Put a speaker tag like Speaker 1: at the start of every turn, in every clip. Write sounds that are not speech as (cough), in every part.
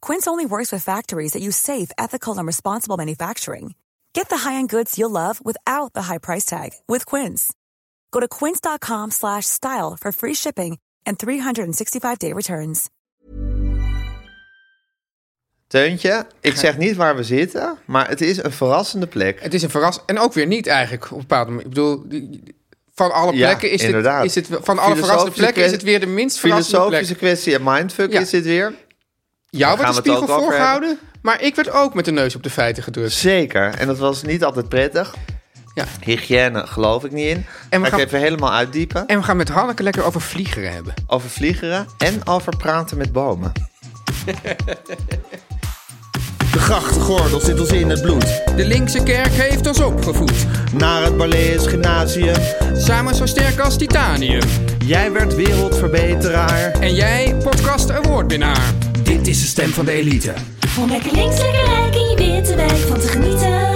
Speaker 1: Quince only works with factories that use safe, ethical, and responsible manufacturing. Get the high-end goods you'll love without the high price tag with Quince. Go to quince.com slash style for free shipping and 365-day returns.
Speaker 2: Teuntje, ik zeg niet waar we zitten, maar het is een verrassende plek.
Speaker 3: Het is een verrassing. En ook weer niet eigenlijk op een bepaalde manier. Ik bedoel, die- die- van alle
Speaker 2: Ja,
Speaker 3: plekken is, dit,
Speaker 2: inderdaad.
Speaker 3: is het... Van alle verrassende
Speaker 2: Filosofische
Speaker 3: plekken is
Speaker 2: kwestie-
Speaker 3: het weer de minst verrassende plek.
Speaker 2: Filosofische kwestie en mindfuck
Speaker 3: Ja.
Speaker 2: is dit weer. Daar
Speaker 3: Jou werd de
Speaker 2: gaan we het
Speaker 3: spiegel
Speaker 2: ook over
Speaker 3: voorgehouden, maar ik werd ook met de neus op de feiten gedrukt.
Speaker 2: Zeker, en dat was niet altijd prettig.
Speaker 3: Ja.
Speaker 2: Hygiëne geloof ik niet in.
Speaker 3: we
Speaker 2: Ga
Speaker 3: gaan-
Speaker 2: ik even helemaal uitdiepen.
Speaker 3: En we gaan met Hanneke lekker over vliegeren hebben.
Speaker 2: Over vliegeren en over praten met bomen.
Speaker 4: (laughs) De grachtgordel zit ons in het bloed.
Speaker 3: De linkse kerk heeft ons opgevoed.
Speaker 4: Naar het Balees Gymnasium.
Speaker 3: Samen zo sterk als titanium.
Speaker 4: Jij werd wereldverbeteraar.
Speaker 3: En jij, podcast awardwinnaar.
Speaker 4: Dit is de stem van de elite.
Speaker 5: Om lekker links, lekker rijk in je witte wijk van te genieten.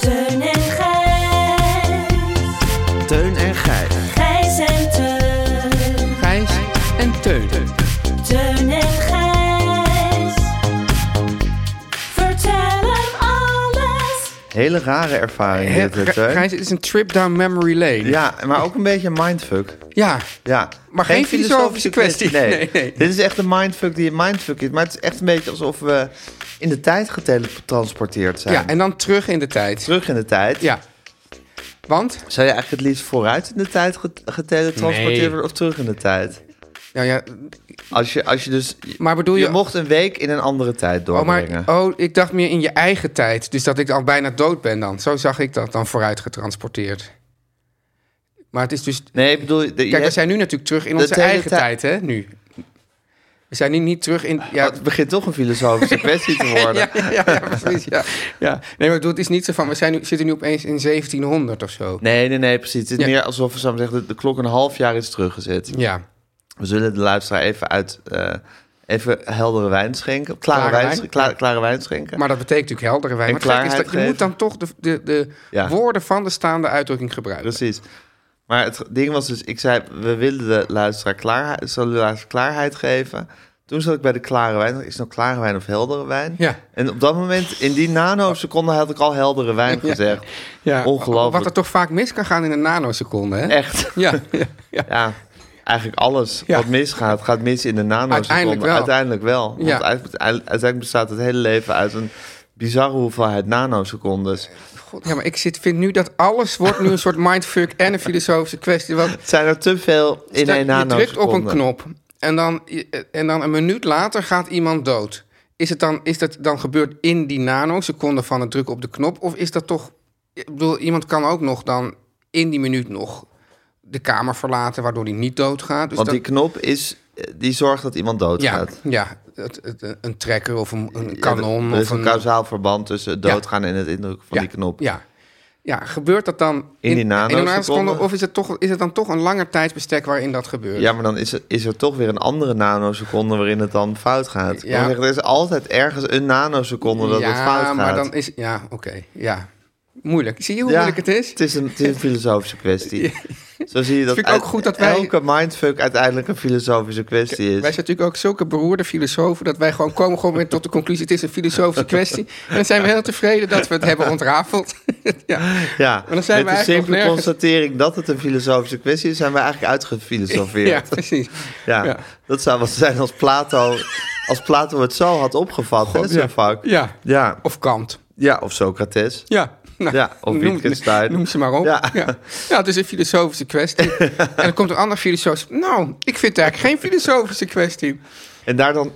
Speaker 5: Teun en Gijs.
Speaker 2: Teun en Gijs.
Speaker 5: Gijs en Teun.
Speaker 3: Gijs en Teun.
Speaker 5: Teun en Gijs. Vertel hem alles.
Speaker 2: Hele rare ervaring
Speaker 3: Hè,
Speaker 2: dit, hè,
Speaker 3: Gij-
Speaker 2: Teun.
Speaker 3: Gijs, het is een trip down memory lane.
Speaker 2: Ja, maar ook een beetje een mindfuck.
Speaker 3: Ja.
Speaker 2: Ja.
Speaker 3: Maar geen filosofische kwestie.
Speaker 2: Nee.
Speaker 3: Nee, nee.
Speaker 2: Dit is echt een mindfuck die een mindfuck is. Maar het is echt een beetje alsof we in de tijd getransporteerd zijn.
Speaker 3: ja, en dan terug in de tijd.
Speaker 2: Terug in de tijd.
Speaker 3: Ja. Want?
Speaker 2: Zou je eigenlijk het liefst vooruit in de tijd get- geteletransporteerd
Speaker 3: Nee.
Speaker 2: worden of terug in de tijd?
Speaker 3: Nou ja,
Speaker 2: Als je, als je dus...
Speaker 3: maar bedoel
Speaker 2: je,
Speaker 3: je...
Speaker 2: mocht een week in een andere tijd
Speaker 3: oh,
Speaker 2: doorbrengen.
Speaker 3: maar, oh, ik dacht meer in je eigen tijd. Dus dat ik al bijna dood ben dan. Zo zag ik dat dan vooruit getransporteerd. Maar het is dus...
Speaker 2: Nee, ik bedoel... de- je
Speaker 3: Kijk, we
Speaker 2: hebt-
Speaker 3: zijn nu natuurlijk terug in
Speaker 2: Dat
Speaker 3: onze
Speaker 2: hele
Speaker 3: eigen
Speaker 2: tij- Ah,
Speaker 3: tijd, hè, nu. We zijn nu niet terug in... Ja,
Speaker 2: Het begint toch een
Speaker 3: (laughs)
Speaker 2: filosofische kwestie te worden.
Speaker 3: ja, ja, ja, ja, precies, ja. ja. Nee, maar ik bedoel, het is niet zo van... We zijn nu, zitten nu opeens in 1700 of zo.
Speaker 2: Nee, nee, nee, precies. Het is
Speaker 3: Ja.
Speaker 2: meer alsof we zo zeggen, de, de klok een half jaar is teruggezet.
Speaker 3: Ja.
Speaker 2: We zullen de luisteraar even uit... eh, even heldere wijn schenken. Klare,
Speaker 3: Klare
Speaker 2: wijn,
Speaker 3: wijn?
Speaker 2: sche- kla- klare wijn schenken.
Speaker 3: Maar dat betekent natuurlijk heldere wijn.
Speaker 2: En
Speaker 3: Maar het gekke is
Speaker 2: klaarheid
Speaker 3: dat je moet
Speaker 2: geven.
Speaker 3: dan toch de, de, de
Speaker 2: Ja.
Speaker 3: woorden van de staande uitdrukking gebruiken.
Speaker 2: Precies. Maar het ding was dus, ik zei, we willen de luisteraar klaarheid, zullen de luisteraar klaarheid geven. Toen zat ik bij de klare wijn. Is het nou klare wijn of heldere wijn?
Speaker 3: Ja.
Speaker 2: En op dat moment, in die nanoseconde, had ik al heldere
Speaker 3: (laughs)
Speaker 2: wijn gezegd. Ongelooflijk.
Speaker 3: Wat er toch vaak mis kan gaan in een nanoseconde, hè?
Speaker 2: Echt.
Speaker 3: Ja, ja, ja.
Speaker 2: Ja. Eigenlijk alles
Speaker 3: Ja.
Speaker 2: wat misgaat, gaat mis in de nanoseconde.
Speaker 3: Uiteindelijk wel.
Speaker 2: Uiteindelijk wel. Want
Speaker 3: Ja.
Speaker 2: uite- uiteindelijk bestaat het hele leven uit een bizarre hoeveelheid nanosecondes.
Speaker 3: God, ja maar ik zit, vind nu dat alles wordt nu een soort mindfuck en een filosofische kwestie. Want
Speaker 2: Het zijn er te veel in
Speaker 3: stel-
Speaker 2: één
Speaker 3: je
Speaker 2: nanoseconde.
Speaker 3: drukt op een knop en dan, en dan een minuut later gaat iemand dood. Is, het dan, is dat dan gebeurd in die nanoseconde van het drukken op de knop? Of is dat toch... Ik bedoel, iemand kan ook nog dan in die minuut nog de kamer verlaten... waardoor hij niet doodgaat. Dus
Speaker 2: Want
Speaker 3: dat-
Speaker 2: die knop is, eh, die zorgt dat iemand doodgaat.
Speaker 3: Ja, ja het, het- een trekker of een, een
Speaker 2: Ja,
Speaker 3: kanon.
Speaker 2: Er is
Speaker 3: of
Speaker 2: een kausaal verband tussen het
Speaker 3: Ja.
Speaker 2: doodgaan en het indrukken van
Speaker 3: ja,
Speaker 2: die knop.
Speaker 3: Ja. ja, gebeurt dat dan
Speaker 2: die
Speaker 3: een
Speaker 2: nanoseconde?
Speaker 3: nanoseconde Of is het, toch, is het dan toch een langer tijdsbestek waarin dat gebeurt?
Speaker 2: Ja, maar dan is er, is er toch weer een andere nanoseconde waarin het dan fout gaat. Ik
Speaker 3: Ja.
Speaker 2: wil zeggen, er is altijd ergens een nanoseconde dat
Speaker 3: Ja,
Speaker 2: het fout gaat.
Speaker 3: maar dan is... Ja, oké. ja. Moeilijk. Zie je hoe
Speaker 2: Ja,
Speaker 3: moeilijk het is?
Speaker 2: Het is een, het is een filosofische
Speaker 3: (laughs)
Speaker 2: kwestie. Zo zie je dat,
Speaker 3: Vind ik ook goed dat wij-
Speaker 2: elke mindfuck uiteindelijk een filosofische kwestie is.
Speaker 3: Wij zijn natuurlijk ook zulke beroerde filosofen... dat wij gewoon komen gewoon weer tot de conclusie... het is een
Speaker 2: (laughs)
Speaker 3: filosofische kwestie. En dan zijn we heel tevreden dat we het hebben ontrafeld. (laughs) ja.
Speaker 2: ja,
Speaker 3: dan zijn
Speaker 2: met de
Speaker 3: we eigenlijk nog
Speaker 2: simpele
Speaker 3: nergens-
Speaker 2: constatering dat het een filosofische kwestie is, zijn we eigenlijk uitgefilosofeerd.
Speaker 3: (laughs) ja, precies.
Speaker 2: Ja,
Speaker 3: Ja.
Speaker 2: dat zou wel zijn als Plato, als Plato het zo had opgevat, hè, zijn vak.
Speaker 3: Ja.
Speaker 2: Ja.
Speaker 3: Of Kant.
Speaker 2: ja, of Socrates.
Speaker 3: Ja. Nou,
Speaker 2: Ja, of Wittgenstein.
Speaker 3: Noem ze maar op.
Speaker 2: Ja.
Speaker 3: Ja. Ja. het is een filosofische
Speaker 2: (laughs)
Speaker 3: kwestie. en dan komt een ander filosoof. Nou, ik vind het eigenlijk geen filosofische kwestie.
Speaker 2: En daar dan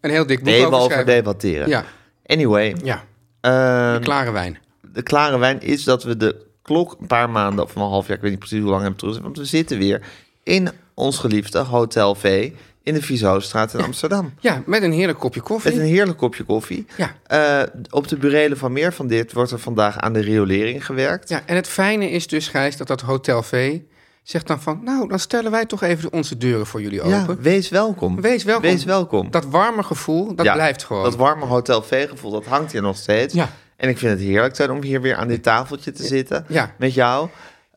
Speaker 3: Een heel dik boek
Speaker 2: helemaal
Speaker 3: over
Speaker 2: over
Speaker 3: schrijven.
Speaker 2: debatteren.
Speaker 3: Ja,
Speaker 2: Anyway,
Speaker 3: ja.
Speaker 2: ehm,
Speaker 3: klare wijn.
Speaker 2: de klare wijn is dat we de klok een paar maanden of een half jaar, ik weet niet precies hoe lang hebben terug, want we zitten weer in ons geliefde Hotel V in de Vizostraat in Amsterdam.
Speaker 3: Ja, met een heerlijk kopje koffie.
Speaker 2: Met een heerlijk kopje koffie.
Speaker 3: Ja.
Speaker 2: Eh, op de burelen van meer van dit wordt er vandaag aan de riolering gewerkt.
Speaker 3: Ja, en het fijne is dus, Gijs, dat dat Hotel V zegt dan van... nou, dan stellen wij toch even onze deuren voor jullie
Speaker 2: Ja,
Speaker 3: open.
Speaker 2: wees welkom.
Speaker 3: Wees welkom.
Speaker 2: Wees welkom.
Speaker 3: Dat warme gevoel, dat
Speaker 2: Ja,
Speaker 3: blijft gewoon.
Speaker 2: Dat warme Hotel V-gevoel, dat hangt hier nog steeds.
Speaker 3: Ja.
Speaker 2: En ik vind het heerlijk zijn om hier weer aan dit tafeltje te zitten
Speaker 3: Ja.
Speaker 2: met jou.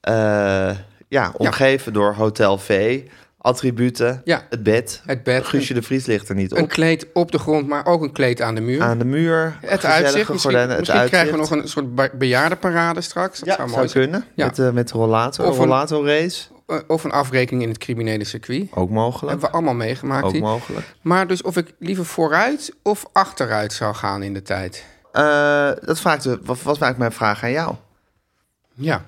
Speaker 2: Eh, ja, omgeven door Hotel V, attributen,
Speaker 3: Ja.
Speaker 2: het bed.
Speaker 3: Het bed.
Speaker 2: Guusje de Vries ligt er niet
Speaker 3: Een
Speaker 2: op.
Speaker 3: kleed op de grond, maar ook een kleed aan de muur.
Speaker 2: Aan de muur,
Speaker 3: het
Speaker 2: gezellige
Speaker 3: uitzicht. Misschien,
Speaker 2: gordijnen, het
Speaker 3: misschien krijgen we nog
Speaker 2: uitzicht.
Speaker 3: een soort be- bejaardenparade straks. Dat
Speaker 2: Ja,
Speaker 3: zou
Speaker 2: zou,
Speaker 3: mooi zijn.
Speaker 2: kunnen.
Speaker 3: Ja.
Speaker 2: Met, eh met de rollator,
Speaker 3: Of een-
Speaker 2: rollator race.
Speaker 3: Eh, Of een afrekening in het criminele circuit.
Speaker 2: Ook mogelijk.
Speaker 3: Hebben we allemaal meegemaakt.
Speaker 2: Ook
Speaker 3: die.
Speaker 2: mogelijk.
Speaker 3: Maar dus of ik liever vooruit of achteruit zou gaan in de tijd.
Speaker 2: Eh, dat vraagt, de- wat was eigenlijk mijn vraag aan jou?
Speaker 3: Ja.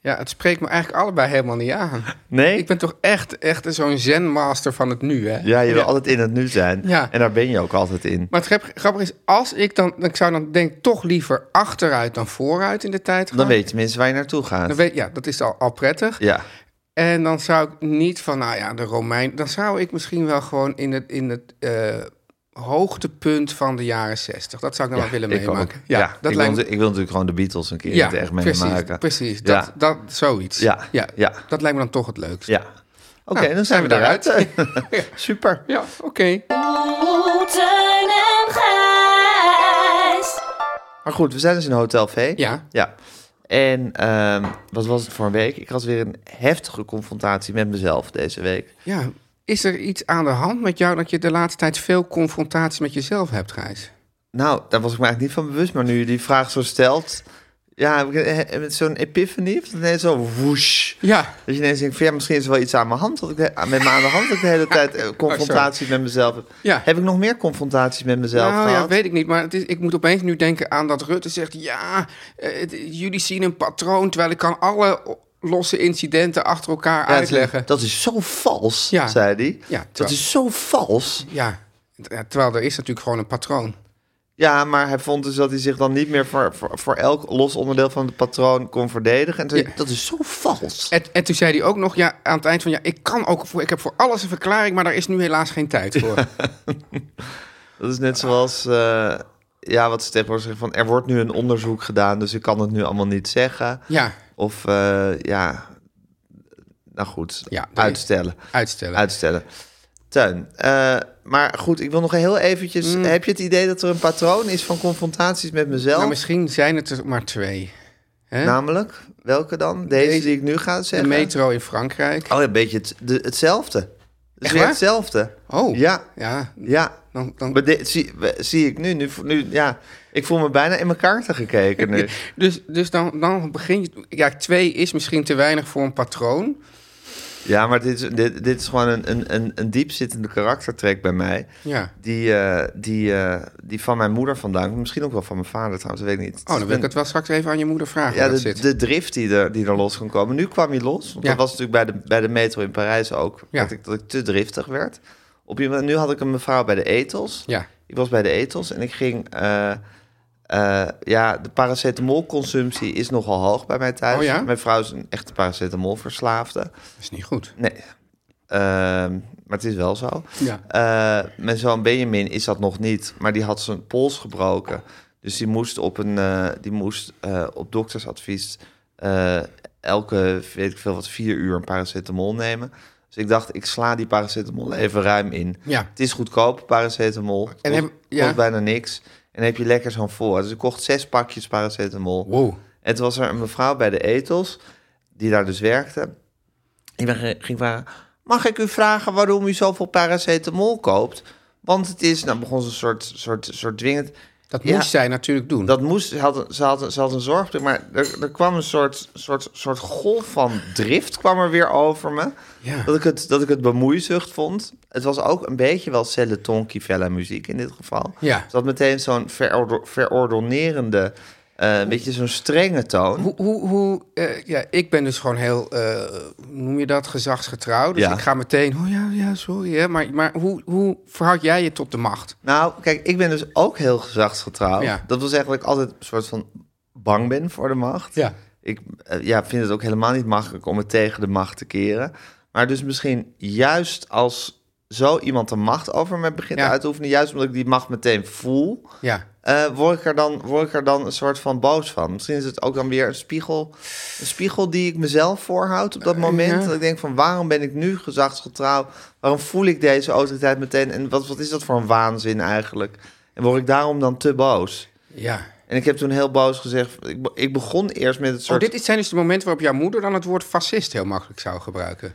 Speaker 3: Ja, het spreekt me eigenlijk allebei helemaal niet aan.
Speaker 2: Nee?
Speaker 3: Ik ben toch echt, echt zo'n zenmaster van het nu, hè?
Speaker 2: Ja, je wil altijd in het nu zijn.
Speaker 3: Ja.
Speaker 2: En daar ben je ook altijd in.
Speaker 3: Maar het grap- grappige is, als ik dan... Ik zou dan denk ik toch liever achteruit dan vooruit in de tijd gaan.
Speaker 2: Dan weet je tenminste waar je naartoe gaat.
Speaker 3: Dan weet- ja, dat is al, al prettig.
Speaker 2: Ja.
Speaker 3: En dan zou ik niet van, nou ja, de Romein... Dan zou ik misschien wel gewoon in het, in het eh, hoogtepunt van de jaren zestig... Dat zou ik dan wel willen
Speaker 2: ik ook.
Speaker 3: meemaken.
Speaker 2: Ja,
Speaker 3: dat
Speaker 2: ik,
Speaker 3: lijkt
Speaker 2: wil, ik wil natuurlijk gewoon de Beatles een keer in
Speaker 3: ja,
Speaker 2: het echt
Speaker 3: precies,
Speaker 2: meemaken.
Speaker 3: Precies,
Speaker 2: Ja.
Speaker 3: dat, dat, zoiets.
Speaker 2: Ja,
Speaker 3: Ja,
Speaker 2: ja.
Speaker 3: dat lijkt me dan toch het leukst.
Speaker 2: Ja. Oké,
Speaker 3: Nou,
Speaker 2: dan zijn we daaruit. (laughs)
Speaker 3: (laughs)
Speaker 2: Super.
Speaker 3: Ja, oké.
Speaker 5: Oh, Teun en Gijs.
Speaker 2: Maar goed, we zijn dus in Hotel V.
Speaker 3: Ja.
Speaker 2: Ja. En ehm, wat was het voor een week? Ik had weer een heftige confrontatie met mezelf deze week.
Speaker 3: Ja, is er iets aan de hand met jou dat je de laatste tijd veel confrontatie met jezelf hebt, Gijs?
Speaker 2: Nou, daar was ik me eigenlijk niet van bewust. Maar nu je die vraag zo stelt... Ja, heb ik een- eh, met zo'n epiphany. Of ineens zo woesh.
Speaker 3: Ja.
Speaker 2: Dat je ineens denkt van ja, misschien is er wel iets aan mijn hand. Dat ik de- met me aan de hand dat ik de hele
Speaker 3: (laughs)
Speaker 2: tijd eh, confrontatie met mezelf heb.
Speaker 3: Oh, Ja.
Speaker 2: Heb ik nog meer confrontaties met mezelf
Speaker 3: Nou ja,
Speaker 2: gehad?
Speaker 3: weet ik niet, maar het is, ik moet opeens nu denken aan dat Rutte zegt... ja, eh, het- jullie zien een patroon, terwijl ik kan alle o- losse incidenten achter elkaar
Speaker 2: Ja, het-
Speaker 3: uitleggen.
Speaker 2: Dat is zo vals,
Speaker 3: Ja.
Speaker 2: zei hij.
Speaker 3: Ja,
Speaker 2: dat
Speaker 3: terwijl-
Speaker 2: is zo vals.
Speaker 3: Ja, t- ja, terwijl er is natuurlijk gewoon een patroon.
Speaker 2: Ja, maar hij vond dus dat hij zich dan niet meer voor, voor, voor elk los onderdeel van het patroon kon verdedigen. En toen
Speaker 3: Ja.
Speaker 2: zei ik, dat is zo vals.
Speaker 3: En, en toen zei hij ook nog ja, aan het eind van... ja, ik, kan ook voor, ik heb voor alles een verklaring, maar daar is nu helaas geen tijd voor.
Speaker 2: (laughs) Dat is net zoals, eh, ja, wat ze tegenwoordig zeggen van, er wordt nu een onderzoek gedaan, dus ik kan het nu allemaal niet zeggen.
Speaker 3: Ja,
Speaker 2: Of, eh, ja, nou goed,
Speaker 3: Ja, dat-
Speaker 2: uitstellen.
Speaker 3: uitstellen.
Speaker 2: Uitstellen. Tuin. eh, maar goed, ik wil nog heel eventjes...
Speaker 3: Mm.
Speaker 2: Heb je het idee dat er een patroon is van confrontaties met mezelf?
Speaker 3: Nou, misschien zijn het er maar twee. Hè?
Speaker 2: Namelijk, welke dan? Deze,
Speaker 3: Deze.
Speaker 2: die ik nu ga
Speaker 3: de
Speaker 2: zeggen?
Speaker 3: metro in Frankrijk.
Speaker 2: Oh, ja, een beetje het, de- hetzelfde. Het is weer
Speaker 3: waar?
Speaker 2: hetzelfde.
Speaker 3: Oh,
Speaker 2: Ja.
Speaker 3: Ja,
Speaker 2: Ja.
Speaker 3: dan, dan...
Speaker 2: Maar dit zie, we- zie ik nu, nu, nu. Ja, ik voel me bijna in mijn kaarten gekeken
Speaker 3: (laughs)
Speaker 2: nu.
Speaker 3: Dus, dus dan, dan begin je... Ja, twee is misschien te weinig voor een patroon.
Speaker 2: Ja, maar dit is, dit, dit is gewoon een, een, een, een diepzittende karaktertrek bij mij.
Speaker 3: Ja.
Speaker 2: Die, eh, die, eh, die van mijn moeder vandaan. komt. Misschien ook wel van mijn vader trouwens, dat weet ik niet.
Speaker 3: Oh, dan wil ik het wel straks even aan je moeder vragen
Speaker 2: Ja,
Speaker 3: hoe dat
Speaker 2: de,
Speaker 3: zit.
Speaker 2: de drift die er, die er los kon komen. Nu kwam hij los. Want
Speaker 3: Ja.
Speaker 2: Dat was natuurlijk bij de, bij de metro in Parijs ook.
Speaker 3: Ja.
Speaker 2: Dat, ik, dat ik te driftig werd. Op iemand, nu had ik een mevrouw bij de etels.
Speaker 3: Ja.
Speaker 2: Ik was bij de etels en ik ging... eh, eh, ja, de paracetamolconsumptie is nogal hoog bij mij thuis.
Speaker 3: Oh ja?
Speaker 2: Mijn vrouw is een echte paracetamolverslaafde.
Speaker 3: Dat is niet goed.
Speaker 2: Nee. Ehm, maar het is wel zo.
Speaker 3: Ja.
Speaker 2: Eh, mijn zoon Benjamin is dat nog niet, maar die had zijn pols gebroken. Dus die moest op, een, eh, die moest, eh, op doktersadvies eh, elke, weet ik veel wat, vier uur een paracetamol nemen. Dus ik dacht, ik sla die paracetamol even ruim in.
Speaker 3: Ja.
Speaker 2: Het is goedkoop, paracetamol. En
Speaker 3: En heb-
Speaker 2: kost,
Speaker 3: ja.
Speaker 2: kost bijna niks. En dan heb je lekker zo'n voorraad. Dus ik kocht zes pakjes paracetamol.
Speaker 3: Wow.
Speaker 2: En toen was er een mevrouw bij de etels, die daar dus werkte. Die me ging vragen, mag ik u vragen waarom u zoveel paracetamol koopt? Want het is, nou begon ze een soort, soort, soort dwingend...
Speaker 3: Dat
Speaker 2: Ja.
Speaker 3: moest zij natuurlijk doen.
Speaker 2: Dat moest, ze had, een- ze had, een- ze had een zorgplicht, maar er, er kwam een soort, soort, soort golf van drift kwam er weer over me.
Speaker 3: Ja.
Speaker 2: Dat, ik het, dat ik het bemoeizucht vond. Het was ook een beetje wel Celle Tonki Vella muziek in dit geval.
Speaker 3: Ja.
Speaker 2: Het had meteen zo'n verordo- verordonerende, eh, een beetje zo'n strenge toon.
Speaker 3: Hoe, hoe, hoe eh, ja, ik ben dus gewoon heel, eh, hoe noem je dat, gezagsgetrouw. Dus
Speaker 2: Ja.
Speaker 3: ik ga meteen, oh ja, ja, sorry. Hè, maar maar hoe, hoe verhoud jij je tot de macht?
Speaker 2: Nou, kijk, ik ben dus ook heel gezagsgetrouw.
Speaker 3: Ja.
Speaker 2: Dat wil zeggen dat ik altijd een soort van bang ben voor de macht.
Speaker 3: Ja.
Speaker 2: Ik eh, ja, vind het ook helemaal niet makkelijk om het tegen de macht te keren. Maar dus misschien juist als zo iemand de macht over me begint
Speaker 3: Ja.
Speaker 2: uit te oefenen... juist omdat ik die macht meteen voel...
Speaker 3: Ja.
Speaker 2: eh, word, ik er dan, word ik er dan een soort van boos van. Misschien is het ook dan weer een spiegel, een spiegel die ik mezelf voorhoud op dat moment.
Speaker 3: ja.
Speaker 2: Dat ik denk van waarom ben ik nu gezagsgetrouw? Waarom voel ik deze autoriteit meteen? En wat, wat is dat voor een waanzin eigenlijk? En word ik daarom dan te boos?
Speaker 3: ja.
Speaker 2: En ik heb toen heel boos gezegd, ik, be- ik begon eerst met het
Speaker 3: Oh,
Speaker 2: soort...
Speaker 3: dit is- zijn dus de momenten waarop jouw moeder dan het woord fascist heel makkelijk zou gebruiken.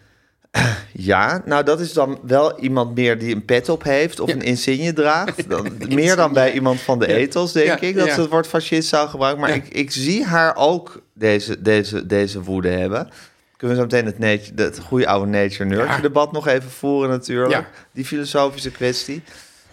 Speaker 2: Ja, nou dat is dan wel iemand meer die een pet op heeft of een insigne draagt.
Speaker 3: (laughs)
Speaker 2: Dan, meer dan bij iemand van de ethos, denk
Speaker 3: Ja,
Speaker 2: ik, dat
Speaker 3: ja.
Speaker 2: ze het woord fascist zou gebruiken. Maar
Speaker 3: Ja.
Speaker 2: ik, ik zie haar ook deze, deze, deze woede hebben. Kunnen we zo meteen het, nature, het goede oude nature-nurture-debat nog even voeren natuurlijk.
Speaker 3: Ja.
Speaker 2: Die filosofische kwestie.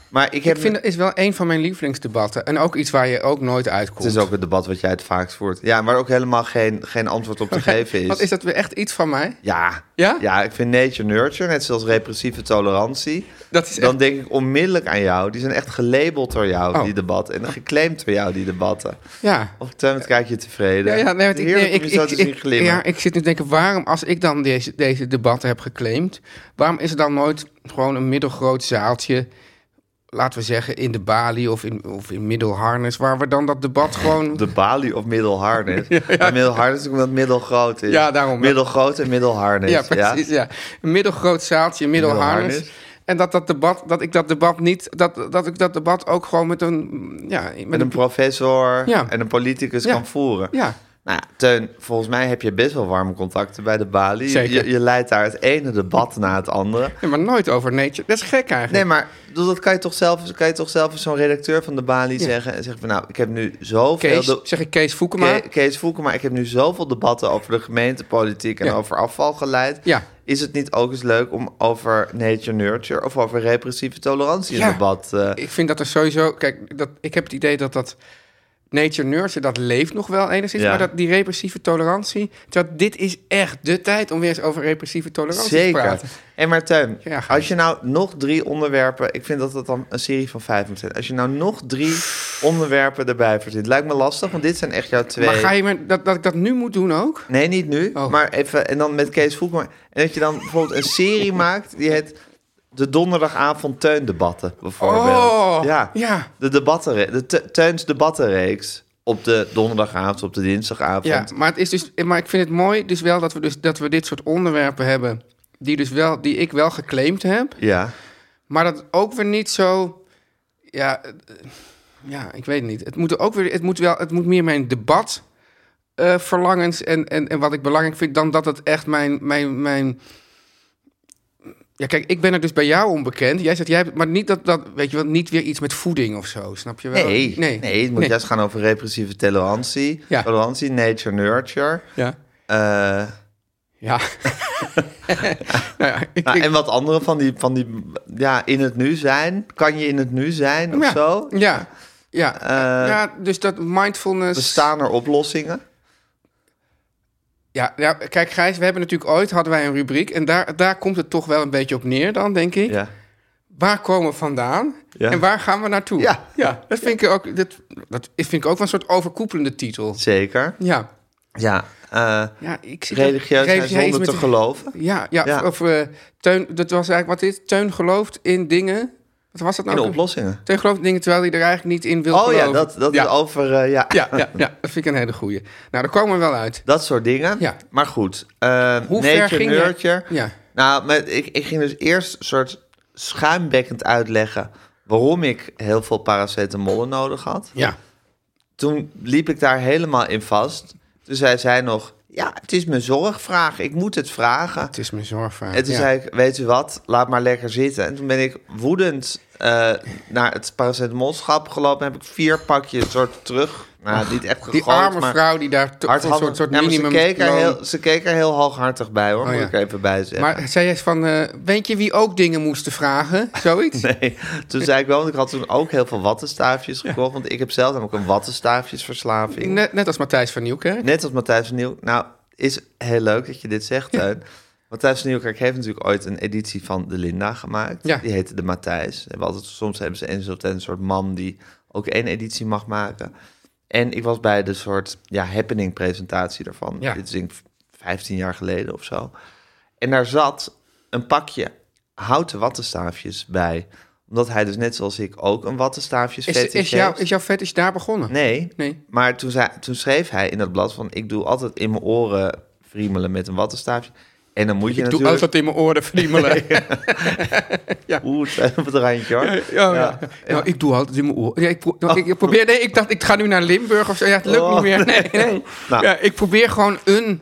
Speaker 2: Maar ik heb...
Speaker 3: Ik vind dat is wel een van mijn lievelingsdebatten. En ook iets waar je ook nooit uitkomt.
Speaker 2: het is ook het debat wat jij het vaakst voert. Ja, waar ook helemaal geen, geen antwoord
Speaker 3: (laughs)
Speaker 2: op te geven is.
Speaker 3: Wat is dat weer echt iets van mij?
Speaker 2: Ja.
Speaker 3: Ja?
Speaker 2: ik vind nature-nurture, net zoals repressieve tolerantie...
Speaker 3: Dat is echt...
Speaker 2: Dan denk ik onmiddellijk aan jou. Die zijn echt gelabeld door jou,
Speaker 3: Oh.
Speaker 2: die debatten. En geclaimd door jou, die debatten.
Speaker 3: Ja.
Speaker 2: Of Teun, wat kijk je
Speaker 3: Ja,
Speaker 2: tevreden?
Speaker 3: ja, nee, want ik,
Speaker 2: Heerlijk
Speaker 3: nee, ik,
Speaker 2: om je zo
Speaker 3: ik,
Speaker 2: te zien
Speaker 3: ik-
Speaker 2: glimmen.
Speaker 3: ja, ik zit nu te denken, waarom als ik dan deze, deze debatten heb geclaimd... waarom is er dan nooit gewoon een middelgroot zaaltje... laten we zeggen in de Bali of in, of in middelharnis... waar we dan dat
Speaker 2: (laughs)
Speaker 3: debat gewoon...
Speaker 2: De Bali of
Speaker 3: (laughs)
Speaker 2: middelharnis. Maar middelharnis is ook omdat middelgroot is.
Speaker 3: Ja, daarom.
Speaker 2: Middelgroot en middelharnis.
Speaker 3: ja, precies, ja. Een middelgroot zaaltje, een middelharnis...
Speaker 2: Middelharnis.
Speaker 3: En dat, dat, debat, dat ik dat debat niet, dat, dat ik dat debat ook gewoon met een. Ja,
Speaker 2: Met een professor
Speaker 3: Ja.
Speaker 2: en een politicus
Speaker 3: Ja.
Speaker 2: kan voeren.
Speaker 3: Ja.
Speaker 2: Nou, ja, Teun, volgens mij heb je best wel warme contacten bij de Bali.
Speaker 3: Zeker.
Speaker 2: Je, je leidt daar het ene debat na het andere.
Speaker 3: Nee, maar nooit over nature. Dat is gek eigenlijk.
Speaker 2: Nee, maar ik bedoel, dat kan je toch zelf, kan je toch zelf als zo'n redacteur van de Bali zeggen. En zeggen van nou, ik heb nu zoveel.
Speaker 3: Kees,
Speaker 2: de-
Speaker 3: zeg ik Kees Voekema.
Speaker 2: Ke- Kees Voelkema, ik heb nu zoveel debatten over de gemeentepolitiek en
Speaker 3: Ja.
Speaker 2: over afval geleid.
Speaker 3: Ja.
Speaker 2: Is het niet ook eens leuk om over nature nurture of over repressieve tolerantie
Speaker 3: Ja.
Speaker 2: een debat? eh,
Speaker 3: Ik vind dat er sowieso... Kijk, dat, ik heb het idee dat dat... Nature nurture, dat leeft nog wel enigszins.
Speaker 2: Ja.
Speaker 3: Maar dat, die repressieve tolerantie... Dat, dit is echt de tijd om weer eens over repressieve tolerantie te
Speaker 2: Zeker.
Speaker 3: praten.
Speaker 2: En Martijn,
Speaker 3: Ja, ga
Speaker 2: als je nou nog drie onderwerpen... Ik vind dat dat dan een serie van vijf moet zijn. Als je nou nog drie onderwerpen erbij verzint... Lijkt me lastig, want dit zijn echt jouw twee...
Speaker 3: Maar ga je me... Dat, dat ik dat nu moet doen ook?
Speaker 2: Nee, niet nu.
Speaker 3: Oh.
Speaker 2: Maar even, en dan met Kees Voelkema. En dat je dan bijvoorbeeld een
Speaker 3: (laughs)
Speaker 2: serie maakt die heet... De donderdagavond Teundebatten, bijvoorbeeld.
Speaker 3: Oh,
Speaker 2: ja.
Speaker 3: ja.
Speaker 2: De, debattenre- de Te- Teuns debattenreeks op de donderdagavond, op de dinsdagavond.
Speaker 3: Ja, maar, het is dus, maar ik vind het mooi dus wel dat we, dus, dat we dit soort onderwerpen hebben... Die, dus wel, die ik wel geclaimd heb.
Speaker 2: ja.
Speaker 3: Maar dat ook weer niet zo. Ja, eh, ja ik weet het niet. Het moet er ook weer. Het moet wel. Het moet meer mijn debat. eh, verlangens en, en, en wat ik belangrijk vind, dan dat het echt mijn, mijn, mijn. Ja, kijk, ik ben er dus bij jou onbekend. Jij zegt jij, hebt- maar niet dat dat, weet je wel, niet weer iets met voeding of zo, snap je wel?
Speaker 2: Nee, nee, het moet
Speaker 3: nee.
Speaker 2: juist gaan over repressieve tolerantie.
Speaker 3: Ja.
Speaker 2: Tolerantie, nature, nurture.
Speaker 3: Ja,
Speaker 2: Eh,
Speaker 3: ja. nou ja, (laughs) ik,
Speaker 2: nou,
Speaker 3: ik-
Speaker 2: en wat andere van die, van die, ja, in het nu zijn. Kan je in het nu zijn of
Speaker 3: ja,
Speaker 2: zo?
Speaker 3: Ja, ja,
Speaker 2: Eh,
Speaker 3: ja, dus dat mindfulness.
Speaker 2: Bestaan er oplossingen?
Speaker 3: Ja, ja, kijk Gijs, we hebben natuurlijk ooit hadden wij een rubriek... en daar, daar komt het toch wel een beetje op neer dan, denk ik.
Speaker 2: Ja.
Speaker 3: Waar komen we vandaan
Speaker 2: Ja.
Speaker 3: en waar gaan we naartoe?
Speaker 2: Ja.
Speaker 3: dat, vind ik ook, dat, dat vind ik ook wel een soort overkoepelende titel.
Speaker 2: Zeker.
Speaker 3: Ja,
Speaker 2: Ja. eh,
Speaker 3: ja ik zit...
Speaker 2: religieus zijn
Speaker 3: religieus- ja, iets
Speaker 2: zonder
Speaker 3: met
Speaker 2: te
Speaker 3: de-
Speaker 2: geloven.
Speaker 3: Ja, ja,
Speaker 2: Ja.
Speaker 3: of eh, Teun, dat was eigenlijk wat dit. Teun gelooft in dingen... Wat was dat
Speaker 2: In
Speaker 3: nou?
Speaker 2: de
Speaker 3: ook?
Speaker 2: oplossingen.
Speaker 3: Teun gelooft in dingen terwijl hij er eigenlijk niet in wil
Speaker 2: Oh
Speaker 3: geloven.
Speaker 2: ja, dat, dat
Speaker 3: ja.
Speaker 2: is over... eh, ja.
Speaker 3: Ja, ja, ja, dat vind ik een hele goeie. Nou, daar komen we wel uit.
Speaker 2: Dat soort dingen.
Speaker 3: Ja.
Speaker 2: Maar goed. eh nature,
Speaker 3: Hoe ver ging je?
Speaker 2: nurture.
Speaker 3: Ja.
Speaker 2: Nou, maar ik, ik ging dus eerst een soort schuimbekkend uitleggen... waarom ik heel veel paracetamol nodig had.
Speaker 3: Ja,
Speaker 2: Toen liep ik daar helemaal in vast. Toen zei zij nog... Ja, het is mijn zorgvraag. Ik moet het vragen.
Speaker 3: het is mijn zorgvraag.
Speaker 2: En toen
Speaker 3: ja.
Speaker 2: zei ik, weet u wat, laat maar lekker zitten. En toen ben ik woedend eh, naar het paracetamolschap gelopen. Heb ik vier pakjes soort terug. Nou, niet echt
Speaker 3: Die
Speaker 2: gegooid,
Speaker 3: arme
Speaker 2: maar
Speaker 3: vrouw die daar toch een
Speaker 2: hardhandig.
Speaker 3: soort, soort
Speaker 2: Ja, maar
Speaker 3: minimum...
Speaker 2: ze keek, er heel, ze keek er heel hooghartig bij, hoor.
Speaker 3: Oh,
Speaker 2: moet
Speaker 3: ja.
Speaker 2: ik er even bij zeggen.
Speaker 3: Maar zei jij van, eh, weet je wie ook dingen moesten
Speaker 2: (laughs)
Speaker 3: vragen? Zoiets?
Speaker 2: Nee, (laughs) toen zei ik wel, want ik had toen ook heel veel wattenstaafjes gekocht. Want ik heb zelf namelijk een wattenstaafjesverslaving.
Speaker 3: Net, net als Matthijs van Nieuwkerk.
Speaker 2: Net als Matthijs van Nieuw. Nou, is heel leuk dat je dit zegt, Teun. Matthijs van Nieuwkerk heeft natuurlijk ooit een editie van De Linda gemaakt.
Speaker 3: Ja.
Speaker 2: Die heette De Matthijs. Ze hebben altijd, soms hebben ze eens op tijd een soort man die ook één editie mag maken. En ik was bij de soort ja, happening presentatie daarvan.
Speaker 3: Ja.
Speaker 2: Dit is denk ik 15 jaar geleden of zo. En daar zat een pakje houten wattenstaafjes bij. Omdat hij dus net zoals ik ook een wattenstaafjes
Speaker 3: Is, is, jouw, is jouw fetish daar begonnen?
Speaker 2: Nee.
Speaker 3: Nee.
Speaker 2: Maar toen, zei, toen schreef hij in dat blad van... ik doe altijd in mijn oren friemelen met een wattenstaafje. En dan moet je
Speaker 3: ik doe
Speaker 2: natuurlijk...
Speaker 3: altijd in mijn oren
Speaker 2: (laughs)
Speaker 3: friemelen.
Speaker 2: Oeh, het is op het randje hoor.
Speaker 3: Ja, ja. Nou, ik doe altijd in mijn oren. Ja, ik, pro- nou, ik probeer, nee, ik dacht, ik ga nu naar Limburg of zo. Ja, het lukt
Speaker 2: Oh,
Speaker 3: niet
Speaker 2: (laughs)
Speaker 3: meer. Nee, nee.
Speaker 2: Nou.
Speaker 3: Ja, ik probeer gewoon een...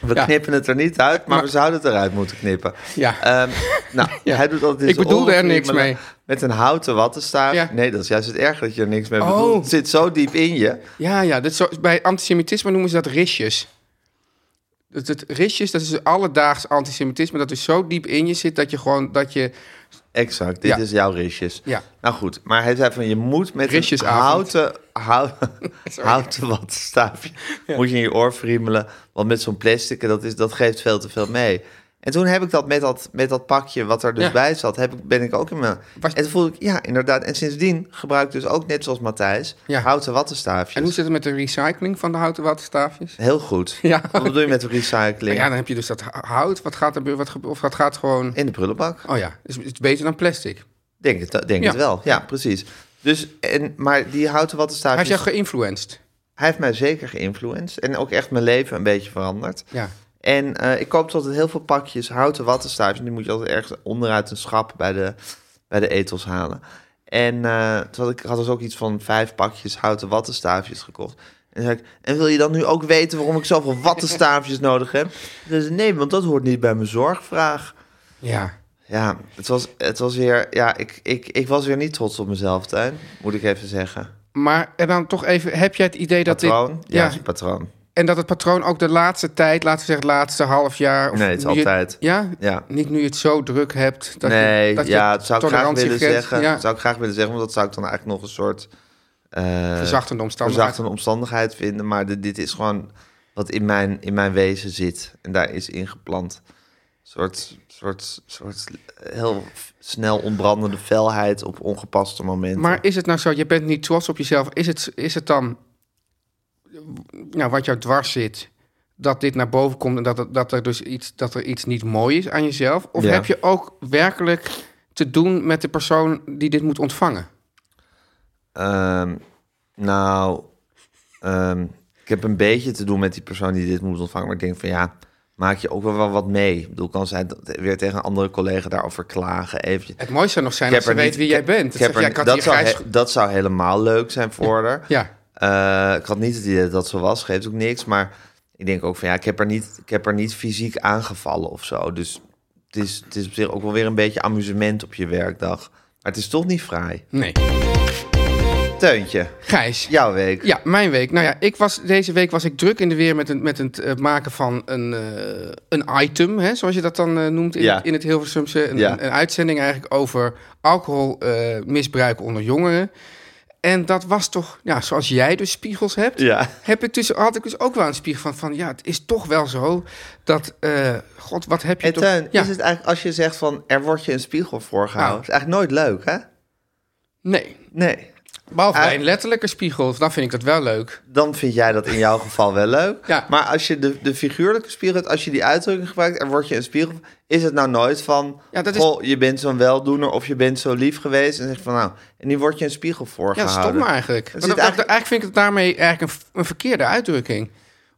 Speaker 2: We
Speaker 3: Ja.
Speaker 2: knippen het er niet uit, maar, we zouden het eruit moeten knippen.
Speaker 3: Ja.
Speaker 2: Ehm,
Speaker 3: (laughs)
Speaker 2: nou, hij doet altijd in
Speaker 3: Ik
Speaker 2: zijn
Speaker 3: bedoelde
Speaker 2: oren
Speaker 3: er niks
Speaker 2: friemelen
Speaker 3: mee.
Speaker 2: Met een houten wattenstaaf.
Speaker 3: Ja.
Speaker 2: Nee, dat is juist het erg dat je er niks mee
Speaker 3: Oh.
Speaker 2: bedoelt. Het zit zo diep in je.
Speaker 3: Ja, ja. Dat is zo, bij antisemitisme noemen ze dat risjes. Dat, dat risjes, dat is alledaags antisemitisme. Dat is zo diep in je zit dat je gewoon... Dat je,
Speaker 2: Exact, dit
Speaker 3: Ja.
Speaker 2: is jouw risjes.
Speaker 3: Ja.
Speaker 2: Nou goed, maar hij zei van je moet met een
Speaker 3: Risjesavond.
Speaker 2: houten,
Speaker 3: (laughs)
Speaker 2: houten, houten wattenstaafje moet je in je oor friemelen. Want met zo'n plastic, dat, is, dat geeft veel te veel mee. En toen heb ik dat met dat, met dat pakje wat er dus
Speaker 3: Ja.
Speaker 2: bij zat, heb ik, ben ik ook in mijn...
Speaker 3: Was-
Speaker 2: En toen voelde ik, ja, inderdaad. En sindsdien gebruik ik dus ook net zoals Matthijs
Speaker 3: Ja.
Speaker 2: houten wattenstaafjes.
Speaker 3: en hoe zit het met de recycling van de houten wattenstaafjes?
Speaker 2: Heel goed.
Speaker 3: (laughs) Ja.
Speaker 2: Wat bedoel je met recycling?
Speaker 3: Ja, dan heb je dus dat hout. Wat gaat er gebeuren? Wat gebe- of wat gaat gewoon...
Speaker 2: In de prullenbak.
Speaker 3: Oh ja, is, is beter dan plastic.
Speaker 2: Denk het, denk
Speaker 3: Ja.
Speaker 2: het wel. Ja, precies. Dus, en, maar die houten
Speaker 3: Hij
Speaker 2: wattenstaafjes...
Speaker 3: is jou geïnfluenced.
Speaker 2: Hij heeft mij zeker geïnfluenced en ook echt mijn leven een beetje veranderd.
Speaker 3: Ja.
Speaker 2: En eh, ik koop altijd heel veel pakjes houten wattenstaafjes. Die moet je altijd ergens onderuit een schap bij de, bij de etels halen. En eh, toen had ik had dus ook iets van vijf pakjes houten wattenstaafjes gekocht. En zei ik, en wil je dan nu ook weten waarom ik
Speaker 3: (laughs)
Speaker 2: zoveel wattenstaafjes nodig heb? Dus nee, want dat hoort niet bij mijn zorgvraag.
Speaker 3: Ja.
Speaker 2: Ja, het was, het was weer, ja, ik, ik, ik was weer niet trots op mezelf, Tuin, moet ik even zeggen.
Speaker 3: Maar en dan toch even, heb jij het idee dat
Speaker 2: Patroon?
Speaker 3: dit...
Speaker 2: Ja,
Speaker 3: Ja,
Speaker 2: is een patroon.
Speaker 3: En dat het patroon ook de laatste tijd, laten we zeggen het laatste half jaar... Of
Speaker 2: Nee, het is
Speaker 3: nu je-
Speaker 2: altijd.
Speaker 3: ja?
Speaker 2: Ja.
Speaker 3: Niet nu je het zo druk hebt. Dat
Speaker 2: nee,
Speaker 3: je, dat je
Speaker 2: ja, dat zou ik graag willen
Speaker 3: tolerantiegrens-
Speaker 2: zeggen.
Speaker 3: Ja,
Speaker 2: Dat zou ik graag willen zeggen, want dat zou ik dan eigenlijk nog een soort eh,
Speaker 3: verzachtende omstandigheden.
Speaker 2: verzachtende omstandigheid vinden. Maar dit, dit is gewoon wat in mijn, in mijn wezen zit en daar is ingeplant. Een soort, soort, soort heel f- snel ontbrandende felheid op ongepaste momenten.
Speaker 3: Maar is het nou zo, je bent niet trots op jezelf. Is het, is het dan, nou, wat jou dwars zit, dat dit naar boven komt... en dat, er- dat, er dus iets, dat er iets niet mooi is aan jezelf? Of
Speaker 2: Ja.
Speaker 3: heb je ook werkelijk te doen met de persoon die dit moet ontvangen?
Speaker 2: Ehm, nou, ehm, ik heb een beetje te doen met die persoon die dit moet ontvangen. Maar ik denk van ja, maak je ook wel wel wat mee. Ik bedoel, kan zij t- weer tegen een andere collega daarover klagen. Eventjes.
Speaker 3: Het mooiste zou nog zijn
Speaker 2: Ik
Speaker 3: als
Speaker 2: heb
Speaker 3: ze
Speaker 2: er
Speaker 3: weet
Speaker 2: niet-
Speaker 3: wie
Speaker 2: ik
Speaker 3: jij
Speaker 2: heb-
Speaker 3: bent.
Speaker 2: ik
Speaker 3: Dat,
Speaker 2: heb
Speaker 3: zegt,
Speaker 2: er
Speaker 3: ja,
Speaker 2: niet-
Speaker 3: ik had
Speaker 2: dat
Speaker 3: hier
Speaker 2: zou
Speaker 3: grijs-
Speaker 2: he- dat zou helemaal leuk zijn voor haar.
Speaker 3: Ja,
Speaker 2: Eh, ik had niet het idee dat dat zo was, geeft ook niks. Maar ik denk ook van ja, ik heb er niet, ik heb er niet fysiek aangevallen of zo. Dus het is, het is op zich ook wel weer een beetje amusement op je werkdag. Maar het is toch niet fraai.
Speaker 3: nee.
Speaker 2: Teuntje,
Speaker 3: Gijs.
Speaker 2: jouw week.
Speaker 3: Ja, mijn week. Nou ja, ik was, deze week was ik druk in de weer met, een, met het eh, maken van een, eh, een item, hè, zoals je dat dan eh, noemt in,
Speaker 2: Ja.
Speaker 3: het, in het Hilversumse. Een,
Speaker 2: Ja.
Speaker 3: een, een uitzending eigenlijk over alcoholmisbruik onder jongeren. En dat was toch, ja, zoals jij dus spiegels hebt,
Speaker 2: Ja.
Speaker 3: heb ik dus, had ik dus ook wel een spiegel van, van ja, het is toch wel zo dat, eh, god, wat heb je
Speaker 2: En
Speaker 3: toch...
Speaker 2: Teun,
Speaker 3: ja,
Speaker 2: is het eigenlijk als je zegt van er wordt je een spiegel voorgehouden, is
Speaker 3: Nou.
Speaker 2: eigenlijk nooit leuk, hè?
Speaker 3: Nee,
Speaker 2: Nee.
Speaker 3: behalve bij
Speaker 2: Ah.
Speaker 3: een letterlijke spiegel, dan vind ik dat wel leuk.
Speaker 2: Dan vind jij dat in jouw geval wel leuk.
Speaker 3: Ja.
Speaker 2: Maar als je de, de figuurlijke spiegel hebt, als je die uitdrukking gebruikt, er wordt je een spiegel, is het nou nooit van,
Speaker 3: Ja, dat is-
Speaker 2: goh, je bent zo'n weldoener of je bent zo lief geweest en zeg van nou, en nu wordt je een spiegel
Speaker 3: Ja,
Speaker 2: voorgehouden.
Speaker 3: stom eigenlijk. Want
Speaker 2: zit
Speaker 3: dat-
Speaker 2: eigenlijk-
Speaker 3: eigenlijk... vind ik het daarmee eigenlijk een, een verkeerde uitdrukking.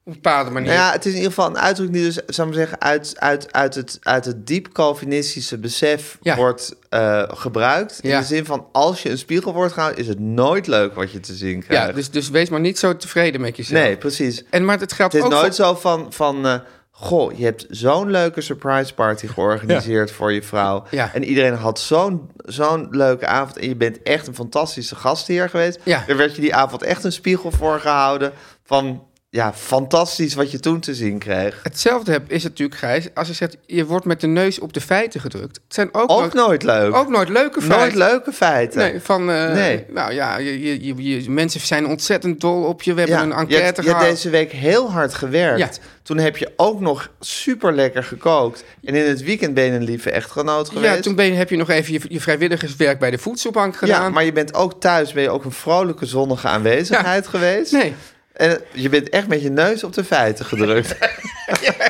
Speaker 3: Op een bepaalde manier.
Speaker 2: Nou ja, het is in ieder geval een uitdrukking die dus, zou ik maar zeggen, uit, uit, uit, het, uit het diep Calvinistische besef
Speaker 3: Ja.
Speaker 2: wordt eh, gebruikt. In
Speaker 3: Ja.
Speaker 2: de zin van, als je een spiegel wordt gehouden, is het nooit leuk wat je te zien krijgt.
Speaker 3: ja, dus, dus wees maar niet zo tevreden met jezelf.
Speaker 2: Nee, precies.
Speaker 3: dus- En maar het geldt
Speaker 2: Het is
Speaker 3: ook
Speaker 2: nooit
Speaker 3: voor-
Speaker 2: zo van, van eh, Goh, je hebt zo'n leuke surprise party georganiseerd voor je vrouw.
Speaker 3: Ja.
Speaker 2: En iedereen had zo'n zo'n leuke avond. En je bent echt een fantastische gastheer geweest.
Speaker 3: Ja.
Speaker 2: Er werd je die avond echt een spiegel voor gehouden. Van ja, fantastisch wat je toen te zien kreeg.
Speaker 3: Hetzelfde heb, is het natuurlijk, Gijs, als je zegt... je wordt met de neus op de feiten gedrukt. Het zijn ook,
Speaker 2: Ook nooit leuk.
Speaker 3: ook nooit leuke feiten.
Speaker 2: nooit leuke feiten.
Speaker 3: Nee, van, eh,
Speaker 2: Nee.
Speaker 3: nou ja, je, je, je- je- mensen zijn ontzettend dol op je. We hebben een
Speaker 2: je hebt,
Speaker 3: enquête
Speaker 2: je hebt
Speaker 3: gehad.
Speaker 2: deze week heel hard gewerkt.
Speaker 3: Ja.
Speaker 2: Toen heb je ook nog super lekker gekookt. En in het weekend ben je een lieve echtgenoot geweest.
Speaker 3: Ja, toen ben je, heb je nog even je, je vrijwilligerswerk bij de voedselbank gedaan.
Speaker 2: Ja, maar je bent ook thuis, ben je ook een vrolijke zonnige aanwezigheid geweest.
Speaker 3: Nee.
Speaker 2: En je bent echt met je neus op de feiten gedrukt.
Speaker 3: (laughs)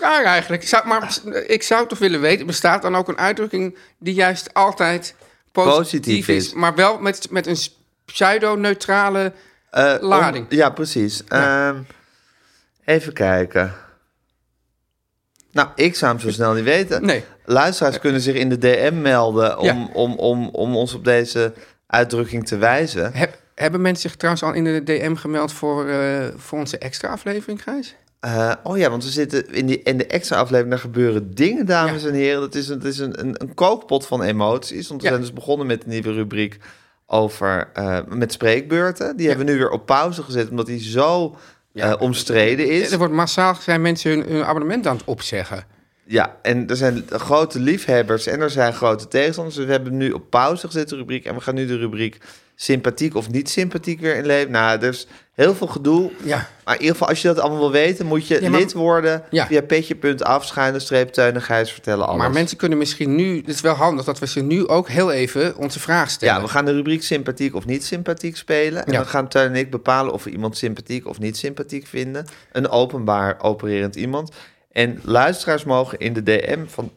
Speaker 3: Raar eigenlijk. Zou- maar ik zou toch willen weten, bestaat dan ook een uitdrukking die juist altijd positief,
Speaker 2: Positief
Speaker 3: is,
Speaker 2: is.
Speaker 3: maar wel met, met een pseudo-neutrale...
Speaker 2: Eh, om-
Speaker 3: Lading.
Speaker 2: ja, precies. Ehm, even kijken. Nou, ik zou hem zo snel niet weten.
Speaker 3: Nee. Eh.
Speaker 2: Luisteraars kunnen zich in de DM melden om,
Speaker 3: Ja.
Speaker 2: om, om, om ons op deze uitdrukking te wijzen.
Speaker 3: Heb- hebben mensen zich trouwens al in de DM gemeld voor, eh, voor onze extra aflevering, Gijs?
Speaker 2: Eh, oh ja, want we zitten in, die, in de extra aflevering. Daar gebeuren dingen, dames en heren. Dat is een, dat is een, een, een kookpot van emoties. Want we
Speaker 3: Ja.
Speaker 2: zijn dus begonnen met een nieuwe rubriek over, eh, met spreekbeurten. Die hebben we nu weer op pauze gezet, omdat die zo eh, omstreden is.
Speaker 3: Er wordt massaal zijn mensen hun, hun abonnement aan het opzeggen.
Speaker 2: Ja, en er zijn grote liefhebbers en er zijn grote tegenstanders. Dus we hebben nu op pauze gezet de rubriek. En we gaan nu de rubriek sympathiek of niet sympathiek weer inleven. Nou, er is heel veel gedoe.
Speaker 3: Ja.
Speaker 2: Maar in ieder geval, als je dat allemaal wil weten, moet je
Speaker 3: Ja, maar-
Speaker 2: lid worden
Speaker 3: Ja.
Speaker 2: via petje.af, schuine streep, Teun en Gijs vertellen alles.
Speaker 3: Maar mensen kunnen misschien nu... Het is wel handig dat we ze nu ook heel even onze vraag stellen.
Speaker 2: Ja, we gaan de rubriek sympathiek of niet sympathiek spelen. En
Speaker 3: Ja.
Speaker 2: dan gaan Teun en ik bepalen of we iemand sympathiek of niet sympathiek vinden. Een openbaar opererend iemand. En luisteraars mogen in de DM van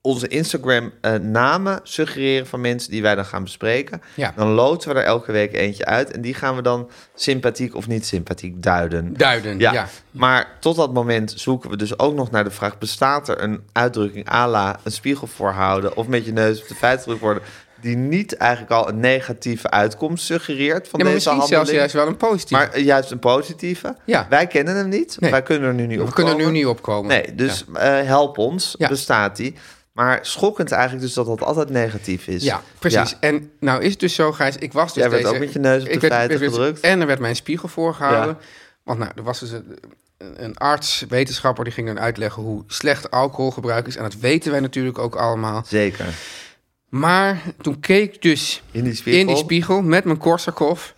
Speaker 2: onze Instagram eh, namen suggereren van mensen die wij dan gaan bespreken.
Speaker 3: Ja.
Speaker 2: Dan loten we er elke week eentje uit. En die gaan we dan sympathiek of niet sympathiek duiden.
Speaker 3: Duiden, ja.
Speaker 2: Ja. Maar tot dat moment zoeken we dus ook nog naar de vraag: bestaat er een uitdrukking à la een spiegel voorhouden of met je neus op de feiten gedrukt worden, die niet eigenlijk al een negatieve uitkomst suggereert van
Speaker 3: Ja, maar
Speaker 2: deze
Speaker 3: misschien
Speaker 2: handeling?
Speaker 3: zelfs juist wel een positief.
Speaker 2: maar eh, juist een positieve.
Speaker 3: Ja.
Speaker 2: Wij kennen hem niet.
Speaker 3: Nee.
Speaker 2: Wij kunnen er nu niet op
Speaker 3: we kunnen er nu niet opkomen.
Speaker 2: Nee, dus eh, help ons.
Speaker 3: Ja.
Speaker 2: Bestaat die. Maar schokkend eigenlijk dus dat dat altijd negatief is.
Speaker 3: Ja, Dus precies. En nou is het dus zo, Gijs, ik was dus
Speaker 2: Jij werd
Speaker 3: deze...
Speaker 2: ook met je neus op de
Speaker 3: ik werd-
Speaker 2: feiten
Speaker 3: werd-
Speaker 2: gedrukt.
Speaker 3: En er werd mijn spiegel voorgehouden. Want nou, er was dus een, een arts, wetenschapper, die ging dan uitleggen hoe slecht alcoholgebruik is. En dat weten wij natuurlijk ook allemaal.
Speaker 2: Zeker.
Speaker 3: Maar toen keek ik dus
Speaker 2: In die spiegel.
Speaker 3: in die spiegel met mijn Korsakoff.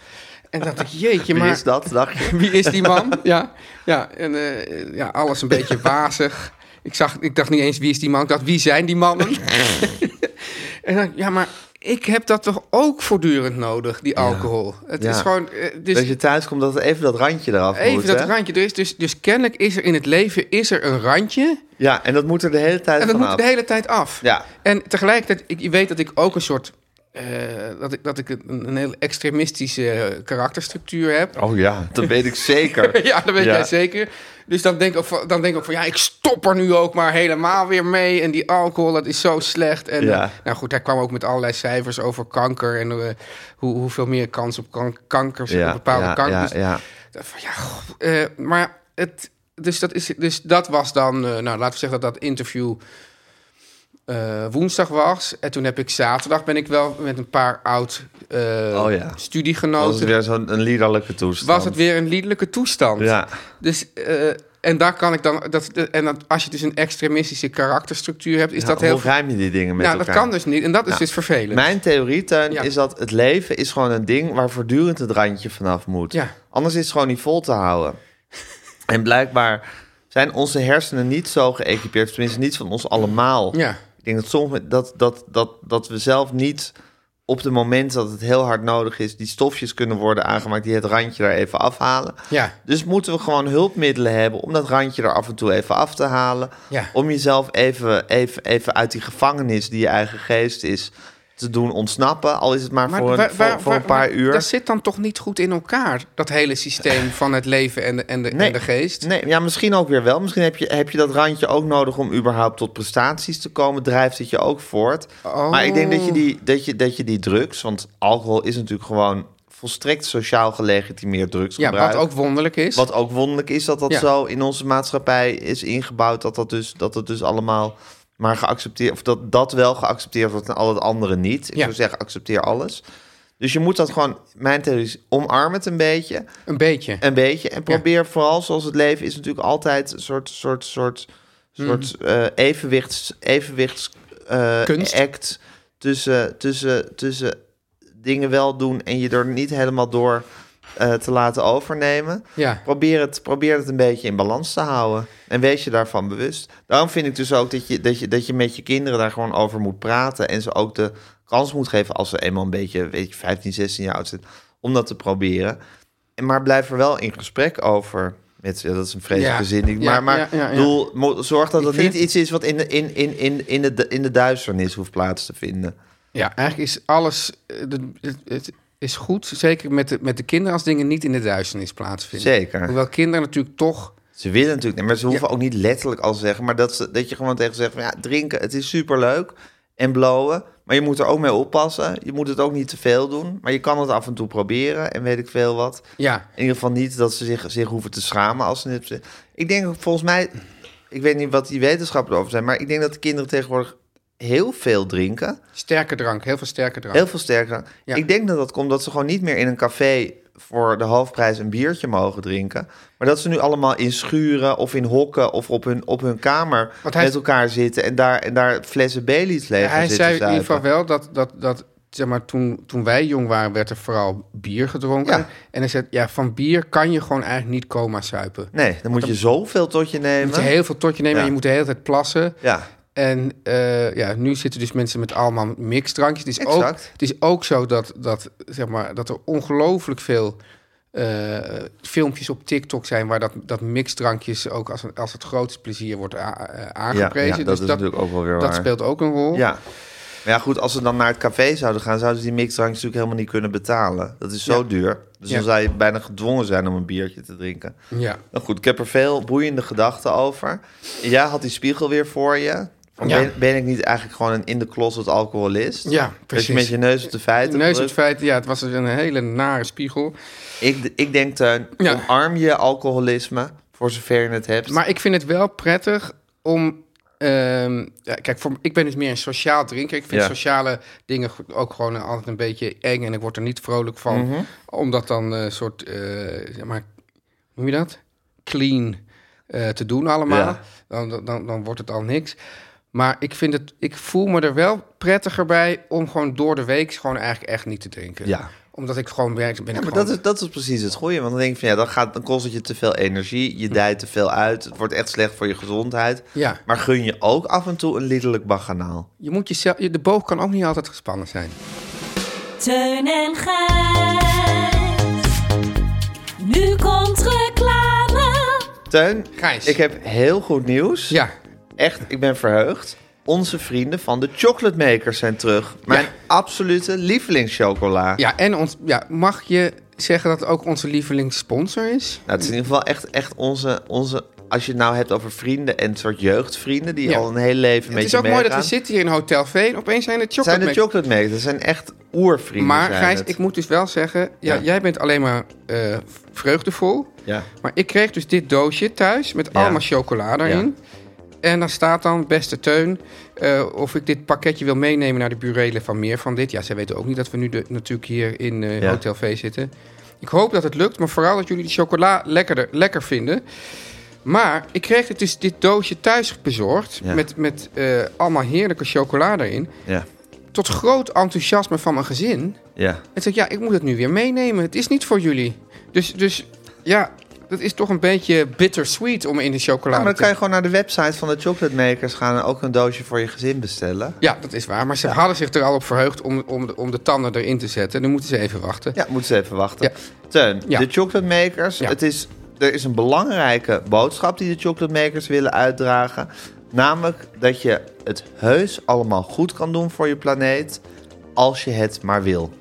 Speaker 3: En dacht ik,
Speaker 2: (laughs)
Speaker 3: jeetje,
Speaker 2: Wie
Speaker 3: maar...
Speaker 2: is dat,
Speaker 3: (laughs)
Speaker 2: dacht je?
Speaker 3: Wie is die man? Ja, ja, en, eh, ja alles een beetje wazig. Ik, zag, ik dacht niet eens wie is die man, ik dacht wie zijn die mannen? (laughs) en dan, ja, maar ik heb dat toch ook voortdurend nodig, die alcohol. Het
Speaker 2: Ja.
Speaker 3: is gewoon, eh, dus
Speaker 2: Dat je thuis komt, dat even dat randje eraf
Speaker 3: even
Speaker 2: moet,
Speaker 3: dat
Speaker 2: hè?
Speaker 3: randje. Er is dus, dus kennelijk is er in het leven is er een randje
Speaker 2: Ja, en dat moet er de hele tijd
Speaker 3: en dat moet
Speaker 2: vanaf.
Speaker 3: er de hele tijd af.
Speaker 2: Ja.
Speaker 3: En tegelijkertijd, ik je weet dat ik ook een soort, eh, dat, ik, dat ik een, een heel extremistische eh, karakterstructuur heb.
Speaker 2: Oh ja, dat weet ik zeker.
Speaker 3: (laughs) Ja, dat weet
Speaker 2: Ja.
Speaker 3: jij zeker. Dus dan denk, ik ook van, dan denk ik ook van, ja, ik stop er nu ook maar helemaal weer mee. En die alcohol, dat is zo slecht. En
Speaker 2: Ja.
Speaker 3: eh, nou goed, hij kwam ook met allerlei cijfers over kanker. En eh, hoe, hoeveel meer kans op kan- kankers, op bepaalde
Speaker 2: ja,
Speaker 3: kankers.
Speaker 2: ja, ja.
Speaker 3: Dus dacht van, ja, goh, eh, maar het, dus, dat is, dus dat was dan, eh, nou laten we zeggen dat dat interview eh, woensdag was. En toen heb ik zaterdag, ben ik wel met een paar oud eh,
Speaker 2: Oh ja. Oh,
Speaker 3: studiegenoten.
Speaker 2: was het weer zo'n een liederlijke toestand.
Speaker 3: was het weer een liedelijke toestand.
Speaker 2: Ja.
Speaker 3: Dus, eh, en daar kan ik dan. Dat, en dat, als je dus een extremistische karakterstructuur hebt, is
Speaker 2: Ja,
Speaker 3: dat heel.
Speaker 2: Hoe ruim je die dingen met
Speaker 3: Nou, dat
Speaker 2: elkaar?
Speaker 3: kan dus niet. En dat is
Speaker 2: Ja.
Speaker 3: dus vervelend.
Speaker 2: Nou, Mijn theorie, Teun,
Speaker 3: Ja.
Speaker 2: is dat het leven is gewoon een ding... waar voortdurend het randje vanaf moet.
Speaker 3: Ja.
Speaker 2: Anders is het gewoon niet vol te houden. en blijkbaar zijn onze hersenen niet zo geëquipeerd... tenminste niet van ons allemaal.
Speaker 3: Ja.
Speaker 2: Ik denk dat, soms, dat, dat, dat, dat we zelf niet op de moment dat het heel hard nodig is... die stofjes kunnen worden aangemaakt die het randje daar even afhalen.
Speaker 3: Ja.
Speaker 2: Dus moeten we gewoon hulpmiddelen hebben om dat randje er af en toe even af te halen.
Speaker 3: Ja.
Speaker 2: Om jezelf even, even, even uit die gevangenis die je eigen geest is te doen ontsnappen. Al is het maar, voor, een,
Speaker 3: waar-
Speaker 2: voor,
Speaker 3: waar-
Speaker 2: voor een
Speaker 3: waar-
Speaker 2: paar uur.
Speaker 3: Dat zit dan toch niet goed in elkaar, dat hele systeem van het leven en de, en de, en de geest.
Speaker 2: Nee, ja, misschien ook weer wel. Misschien heb je, heb je dat randje ook nodig om überhaupt tot prestaties te komen. Drijft het je
Speaker 3: Oh.
Speaker 2: ook voort. Maar ik denk dat je, die, dat, je, dat je die drugs, want alcohol is natuurlijk gewoon volstrekt sociaal gelegitimeerd
Speaker 3: Ja,
Speaker 2: drugsgebruik.
Speaker 3: wat ook wonderlijk is.
Speaker 2: Wat ook wonderlijk is dat dat
Speaker 3: Ja.
Speaker 2: zo in onze maatschappij is ingebouwd. Dat dat dus, dat het dus allemaal maar geaccepteerd Of dat dat wel geaccepteerd wordt en al het andere niet. Ik
Speaker 3: Ja.
Speaker 2: zou zeggen, accepteer alles. Dus je moet dat gewoon, mijn theorie is, omarm het een beetje.
Speaker 3: Een beetje.
Speaker 2: Een beetje. En probeer vooral, zoals het leven is natuurlijk altijd een soort, soort, soort, soort eh, evenwichts, evenwichts eh,
Speaker 3: Mm. Kunst.
Speaker 2: act tussen, tussen, tussen dingen wel doen en je er niet helemaal door eh, te laten overnemen.
Speaker 3: Ja.
Speaker 2: Probeer het, probeer het een beetje in balans te houden. En wees je daarvan bewust. Daarom vind ik dus ook dat je, dat je, dat je met je kinderen daar gewoon over moet praten. En ze ook de kans moet geven als ze eenmaal een beetje, weet je, 15, 16 jaar oud zijn, om dat te proberen. En Maar blijf er wel in gesprek over. Met, ze. dat is een vreselijke
Speaker 3: Ja.
Speaker 2: zin. die ik-
Speaker 3: Ja,
Speaker 2: Maar, maar
Speaker 3: ja, ja, ja.
Speaker 2: Doel, mo- zorg dat
Speaker 3: Ik
Speaker 2: het
Speaker 3: vind
Speaker 2: niet iets is wat in de, in, in, in, in, de, in de duisternis hoeft plaats te vinden.
Speaker 3: Ja, eigenlijk is alles. eh, de- Het, het is goed, zeker met de, met de kinderen, als dingen niet in de duisternis plaatsvinden.
Speaker 2: Zeker.
Speaker 3: Hoewel kinderen natuurlijk toch.
Speaker 2: Ze willen natuurlijk, niet, maar ze hoeven ook niet letterlijk al te zeggen. Maar dat, ze, dat je gewoon tegen ze zegt: van, ja, drinken, het is superleuk en blowen. Maar je moet er ook mee oppassen. Je moet het ook niet te veel doen. Maar je kan het af en toe proberen en weet ik veel wat.
Speaker 3: Ja,
Speaker 2: In ieder geval niet dat ze zich, zich hoeven te schamen als ze het hebben. Ik denk ook, volgens mij, ik weet niet wat die wetenschappers over zijn. Maar ik denk dat de kinderen tegenwoordig heel veel drinken.
Speaker 3: sterke drank, heel veel sterke drank.
Speaker 2: Heel veel sterker.
Speaker 3: Ja.
Speaker 2: Ik denk dat dat komt dat ze gewoon niet meer in een café voor de hoofdprijs een biertje mogen drinken. Maar dat ze nu allemaal in schuren of in hokken of op hun, op hun kamer
Speaker 3: Want hij-
Speaker 2: met elkaar zitten en daar, en daar flessen Bailey's leeg gaan
Speaker 3: hij
Speaker 2: zitten
Speaker 3: zei in ieder geval
Speaker 2: zuipen.
Speaker 3: wel dat, dat, dat zeg maar, toen, toen wij jong waren, werd er vooral bier gedronken.
Speaker 2: Ja.
Speaker 3: En hij zei, ja, van bier kan je gewoon eigenlijk niet coma suipen.
Speaker 2: Nee, dan moet je zoveel tot je
Speaker 3: Je moet
Speaker 2: nemen.
Speaker 3: heel veel tot je nemen
Speaker 2: Ja.
Speaker 3: en je moet de hele tijd plassen.
Speaker 2: Ja,
Speaker 3: En eh, ja, nu zitten dus mensen met allemaal mixdrankjes. Het is, ook,
Speaker 2: Exact.
Speaker 3: het is ook zo dat, dat, zeg maar, dat er ongelooflijk veel eh, filmpjes op TikTok zijn... waar dat, dat mixdrankjes ook als, een- als het grootste plezier wordt a- eh,
Speaker 2: ja,
Speaker 3: aangeprezen.
Speaker 2: ja, dat
Speaker 3: Dus
Speaker 2: is natuurlijk ook wel weer
Speaker 3: dat
Speaker 2: waar.
Speaker 3: speelt ook een rol.
Speaker 2: Ja. Maar ja, goed, als ze dan naar het café zouden gaan... zouden ze die mixdrankjes natuurlijk helemaal niet kunnen betalen. Dat is zo
Speaker 3: Ja.
Speaker 2: duur. Dus
Speaker 3: Ja.
Speaker 2: dan zou je bijna gedwongen zijn om een biertje te drinken.
Speaker 3: ja.
Speaker 2: Nou goed, ik heb er veel boeiende gedachten over. Jij had die spiegel weer voor je. Van,
Speaker 3: Ja.
Speaker 2: ben, ben ik niet eigenlijk gewoon een in de closet alcoholist?
Speaker 3: Ja,
Speaker 2: Dat je
Speaker 3: precies.
Speaker 2: met je neus op de feiten
Speaker 3: Neus op
Speaker 2: drukt.
Speaker 3: het feit, ja, het was dus een hele nare spiegel.
Speaker 2: Ik, ik denk, Teun,
Speaker 3: Ja.
Speaker 2: omarm je alcoholisme... voor zover je het hebt.
Speaker 3: Maar ik vind het wel prettig om. ehm, ja, kijk, voor, ik ben dus meer een sociaal drinker. Ik vind
Speaker 2: Ja.
Speaker 3: sociale dingen go- ook gewoon altijd een beetje eng. En ik word er niet vrolijk van.
Speaker 2: Mhm.
Speaker 3: Omdat dan een soort. eh, zeg maar, hoe noem je dat? Clean eh, te doen allemaal.
Speaker 2: Ja.
Speaker 3: Dan, dan- dan, dan wordt het al niks. Maar ik, vind het, ik voel me er wel prettiger bij om gewoon door de week gewoon eigenlijk echt niet te drinken.
Speaker 2: Ja.
Speaker 3: Omdat ik gewoon werk, ben
Speaker 2: Ja,
Speaker 3: ik
Speaker 2: maar
Speaker 3: gewoon-
Speaker 2: dat is, dat is precies het goede. Want dan denk je van ja, dan, gaat, dan kost het je te veel energie. Je dijt te veel uit. Het wordt echt slecht voor je gezondheid.
Speaker 3: Hm. Ja.
Speaker 2: Maar gun je ook af en toe een liederlijk baganaal.
Speaker 3: Je moet jezelf, je- de boog kan ook niet altijd gespannen zijn.
Speaker 5: Teun en Gijs. Nu komt reclame.
Speaker 2: Teun,
Speaker 3: Gijs.
Speaker 2: ik heb heel goed nieuws.
Speaker 3: Ja,
Speaker 2: Echt, ik ben verheugd. Onze vrienden van de Chocolate Makers zijn terug. Mijn
Speaker 3: Ja.
Speaker 2: absolute lievelingschocola.
Speaker 3: Ja, en ons, ja, mag je zeggen dat het ook onze lievelingssponsor is?
Speaker 2: Nou, het is in ieder geval echt, echt onze, onze... Als je het nou hebt over vrienden en een soort jeugdvrienden... die
Speaker 3: Ja.
Speaker 2: al een heel leven met
Speaker 3: Het
Speaker 2: je
Speaker 3: is ook mooi
Speaker 2: meegaan.
Speaker 3: dat we zitten hier in Hotel V en opeens zijn het chocolate
Speaker 2: zijn de Chocolate Makers. Dat zijn echt oervrienden.
Speaker 3: Maar
Speaker 2: zijn
Speaker 3: Gijs,
Speaker 2: het.
Speaker 3: ik moet dus wel zeggen, ja,
Speaker 2: Ja.
Speaker 3: jij bent alleen maar eh, vreugdevol.
Speaker 2: Ja.
Speaker 3: Maar ik kreeg dus dit doosje thuis met
Speaker 2: Ja.
Speaker 3: allemaal chocola erin. En daar staat dan, beste Teun, eh, of ik dit pakketje wil meenemen naar de burelen van meer van dit. Ja, zij weten ook niet dat we nu de, natuurlijk hier in eh,
Speaker 2: Ja.
Speaker 3: Hotel V zitten. Ik hoop dat het lukt, maar vooral dat jullie de chocola lekkerder, lekker vinden. Maar ik kreeg het dus dit doosje thuis bezorgd
Speaker 2: Ja.
Speaker 3: met, met eh, allemaal heerlijke chocola erin.
Speaker 2: Ja,
Speaker 3: Tot groot enthousiasme van mijn gezin.
Speaker 2: ja.
Speaker 3: En zei ik, ja, ik moet het nu weer meenemen. Het is niet voor jullie. Dus, dus ja, dat is toch een beetje bittersweet om in de chocolade
Speaker 2: Ja, maar dan
Speaker 3: te...
Speaker 2: kan je gewoon naar de website van de Chocolate Makers gaan... en ook een doosje voor je gezin bestellen.
Speaker 3: Ja, dat is waar. Maar ze hadden zich er al op verheugd om, om, de, om de tanden erin te zetten. Dan moeten ze even wachten.
Speaker 2: Ja, moeten ze even wachten.
Speaker 3: Ja.
Speaker 2: Teun,
Speaker 3: Ja.
Speaker 2: de Chocolate Makers.
Speaker 3: Ja.
Speaker 2: Het is, er is een belangrijke boodschap die de Chocolate Makers willen uitdragen. Namelijk dat je het heus allemaal goed kan doen voor je planeet. Als je het maar wil.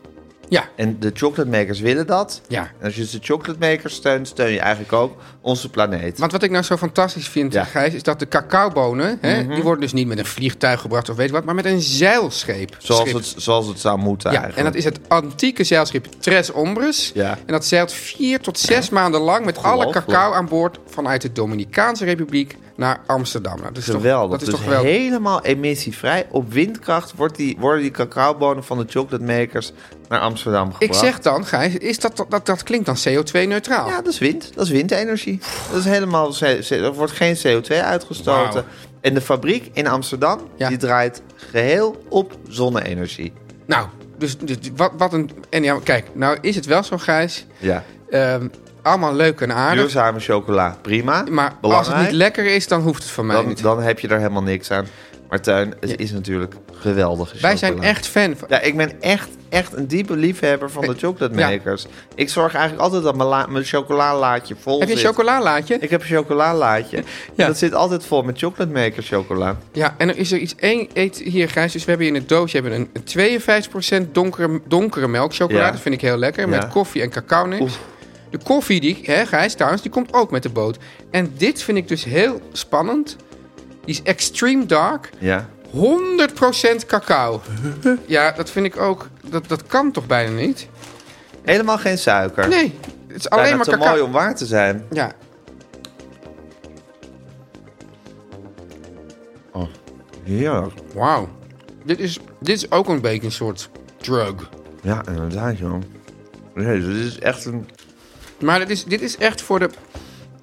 Speaker 3: Ja.
Speaker 2: En de chocolademakers willen dat.
Speaker 3: Ja.
Speaker 2: En als je dus de chocolademakers steunt, steun je eigenlijk ook onze planeet.
Speaker 3: Want wat ik nou zo fantastisch vind,
Speaker 2: Ja. Mhm.
Speaker 3: Gijs, is dat de cacaobonen... Hè, die worden dus niet met een vliegtuig gebracht of weet ik wat... maar met een zeilscheep.
Speaker 2: zoals,
Speaker 3: schip.
Speaker 2: het, zoals het zou moeten
Speaker 3: Ja,
Speaker 2: eigenlijk.
Speaker 3: en dat is het antieke zeilschip Tres Ombres.
Speaker 2: Ja.
Speaker 3: En dat zeilt vier tot zes maanden lang met alle
Speaker 2: Ongelooflijk.
Speaker 3: cacao aan boord vanuit de Dominicaanse Republiek naar Amsterdam. Nou, dat is
Speaker 2: Geweldig.
Speaker 3: Toch, dat is
Speaker 2: dus
Speaker 3: toch wel.
Speaker 2: helemaal emissievrij. Op windkracht wordt die, worden die cacaobonen van de chocolademakers naar Amsterdam gebracht.
Speaker 3: Ik zeg dan, Gijs, is dat, dat, dat, dat klinkt dan CO2-neutraal.
Speaker 2: Ja, dat is wind. Dat is windenergie. Dat is helemaal... C- C- Er wordt geen CO2 uitgestoten.
Speaker 3: Wauw.
Speaker 2: En de fabriek in Amsterdam,
Speaker 3: Ja.
Speaker 2: die draait geheel op zonne-energie.
Speaker 3: Nou, dus, dus wat, wat een. En ja, kijk, nou is het wel zo, Gijs.
Speaker 2: Ja.
Speaker 3: Ehm, allemaal leuk en aardig.
Speaker 2: Duurzame chocola, prima.
Speaker 3: Maar als
Speaker 2: Belangrijk.
Speaker 3: het niet lekker is, dan hoeft het van mij
Speaker 2: dan,
Speaker 3: niet.
Speaker 2: dan heb je daar helemaal niks aan. Maar Tuin, het
Speaker 3: Ja.
Speaker 2: is natuurlijk geweldig.
Speaker 3: Wij zijn echt fan van.
Speaker 2: Ja, ik ben echt, echt een diepe liefhebber van de chocolademakers. Ik zorg eigenlijk altijd dat mijn, la- mijn chocolalaatje vol
Speaker 3: Heb je een
Speaker 2: zit.
Speaker 3: chocolalaatje?
Speaker 2: Ik heb een (laughs) chocolalaatje.
Speaker 3: Ja.
Speaker 2: En Dat zit altijd vol met chocolademakers chocola.
Speaker 3: Ja, en er is er iets één eet hier, Gijs. Dus we hebben in het doosje hebben een 52% donkere, donkere melkchocolade.
Speaker 2: Ja.
Speaker 3: Dat vind ik heel lekker.
Speaker 2: Ja.
Speaker 3: Met koffie en cacao niks.
Speaker 2: Oef.
Speaker 3: De koffie, die, hè, Gijs, trouwens, die komt ook met de boot. En dit vind ik dus heel spannend. Die is extreme dark.
Speaker 2: Ja.
Speaker 3: 100%
Speaker 2: (laughs)
Speaker 3: cacao. ja, dat vind ik ook... Dat, dat kan toch bijna niet?
Speaker 2: Helemaal geen suiker.
Speaker 3: Nee, het is
Speaker 2: Bijna
Speaker 3: alleen maar
Speaker 2: te mooi
Speaker 3: cacao.
Speaker 2: om waar te zijn.
Speaker 3: Ja,
Speaker 2: Ja,
Speaker 3: wauw. Dit is, dit is ook een beetje een soort drug.
Speaker 2: ja inderdaad, joh. Nee, dus dit is echt een...
Speaker 3: Maar dit is, dit is echt voor de.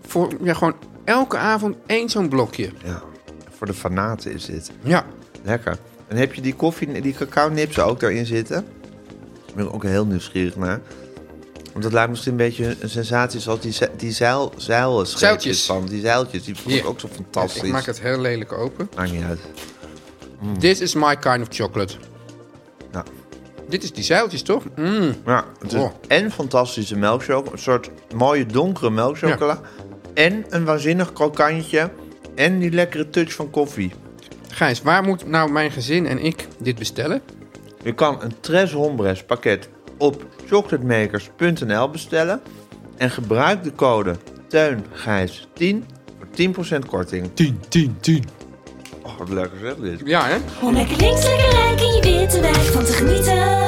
Speaker 3: Voor ja, gewoon elke avond één zo'n blokje.
Speaker 2: Ja, voor de fanaten is dit.
Speaker 3: Ja.
Speaker 2: Lekker. En heb je die koffie, die cacao-nips ook daarin zitten? Daar ben ik ook heel nieuwsgierig naar. Want dat lijkt misschien een beetje een sensatie zoals die, ze- die zeil, zeil
Speaker 3: Zeiltjes.
Speaker 2: van. Die zeiltjes, die vond ik
Speaker 3: Hier.
Speaker 2: ook zo fantastisch.
Speaker 3: Ik maak het heel lelijk open.
Speaker 2: Maakt niet uit.
Speaker 3: This is my kind of chocolate.
Speaker 2: Nou,
Speaker 3: Dit is die zeiltjes, toch? Mm.
Speaker 2: ja, het is
Speaker 3: Oh.
Speaker 2: en fantastische melkchocola, een soort mooie donkere melkchocola. En een waanzinnig krokantje. En die lekkere touch van koffie.
Speaker 3: Gijs, waar moet nou mijn gezin en ik dit bestellen?
Speaker 2: Je kan een Tres Hombres pakket op chocolatemakers.nl bestellen. En gebruik de code TEUNGIJS10 voor 10% korting. 10, 10, 10. Oh, wat lekker zeg dit.
Speaker 3: Ja, hè?
Speaker 5: Om lekker links, lekker rijk in je witte wijk van te genieten.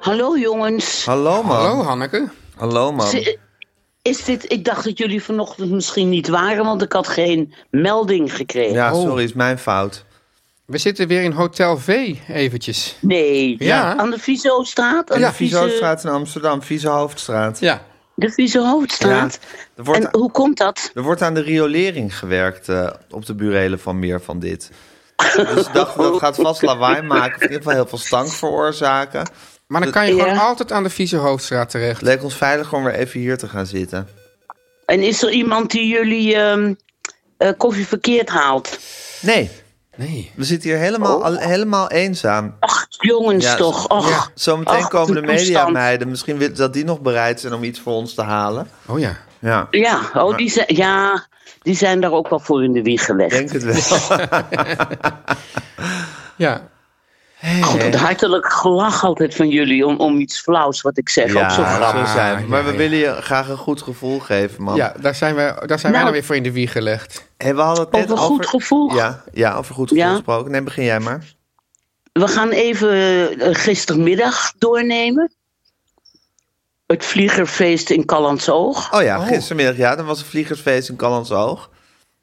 Speaker 6: Hallo jongens.
Speaker 2: Hallo man.
Speaker 3: Hallo,
Speaker 2: Hallo,
Speaker 3: Hanneke.
Speaker 2: man.
Speaker 6: Z- Is dit, ik dacht dat jullie vanochtend misschien niet waren, want ik had geen melding gekregen.
Speaker 2: Ja, sorry, is mijn fout.
Speaker 3: We zitten weer in Hotel V eventjes.
Speaker 6: Nee,
Speaker 3: Ja.
Speaker 6: aan de Vizostraat. Aan
Speaker 2: Ja,
Speaker 6: de Vieze-
Speaker 2: Vieshoofdstraat in Amsterdam, Vieze Hoofdstraat.
Speaker 3: Ja.
Speaker 6: De Vieze Hoofdstraat.
Speaker 2: Er wordt,
Speaker 6: En hoe komt dat?
Speaker 2: er wordt aan de riolering gewerkt eh, op de burelen van meer van dit. Dus ik dacht, dat gaat vast lawaai maken. Of in ieder geval heel veel stank veroorzaken.
Speaker 3: Maar dan kan je
Speaker 6: Ja.
Speaker 3: gewoon altijd aan de vieze hoofdstraat terecht.
Speaker 2: Het leek ons veiliger om weer even hier te gaan zitten.
Speaker 6: En is er iemand die jullie ehm, eh, koffie verkeerd haalt?
Speaker 2: Nee,
Speaker 3: Nee.
Speaker 2: we zitten hier helemaal, al- helemaal eenzaam.
Speaker 6: Oh. Ach, jongens
Speaker 2: Ja,
Speaker 6: toch. Och,
Speaker 2: ja, Zometeen
Speaker 6: Ach,
Speaker 2: komen de
Speaker 6: die toestand.
Speaker 2: mediameiden. Misschien wil- dat die nog bereid zijn om iets voor ons te halen.
Speaker 3: Oh ja.
Speaker 2: Ja, ik
Speaker 6: Ja, oh, die zijn, ja, die zijn daar ook wel voor in de wieg gelegd.
Speaker 2: denk het
Speaker 6: (laughs)
Speaker 2: wel.
Speaker 3: Ja.
Speaker 6: God, Oh, hartelijk gelach altijd van jullie om, om iets flauws wat ik zeg. ook zo
Speaker 2: Ja,
Speaker 6: grappig.
Speaker 2: zo zijn we. Maar
Speaker 3: Ja,
Speaker 2: we
Speaker 3: ja.
Speaker 2: willen je graag een goed gevoel geven, man.
Speaker 3: Ja, daar zijn, wij, daar zijn wij
Speaker 6: Nou.
Speaker 3: dan weer voor in de wieg gelegd.
Speaker 2: Hey, we hadden het net
Speaker 6: Over
Speaker 2: over...
Speaker 6: goed gevoel.
Speaker 2: Ja, ja, over goed gevoel
Speaker 6: Ja.
Speaker 2: gesproken. Nee, begin jij maar.
Speaker 6: We gaan even eh, gistermiddag doornemen. Het vliegerfeest in Callantsoog.
Speaker 2: Oh ja, gistermiddag, ja. Dan was een vliegersfeest in Callans Oog.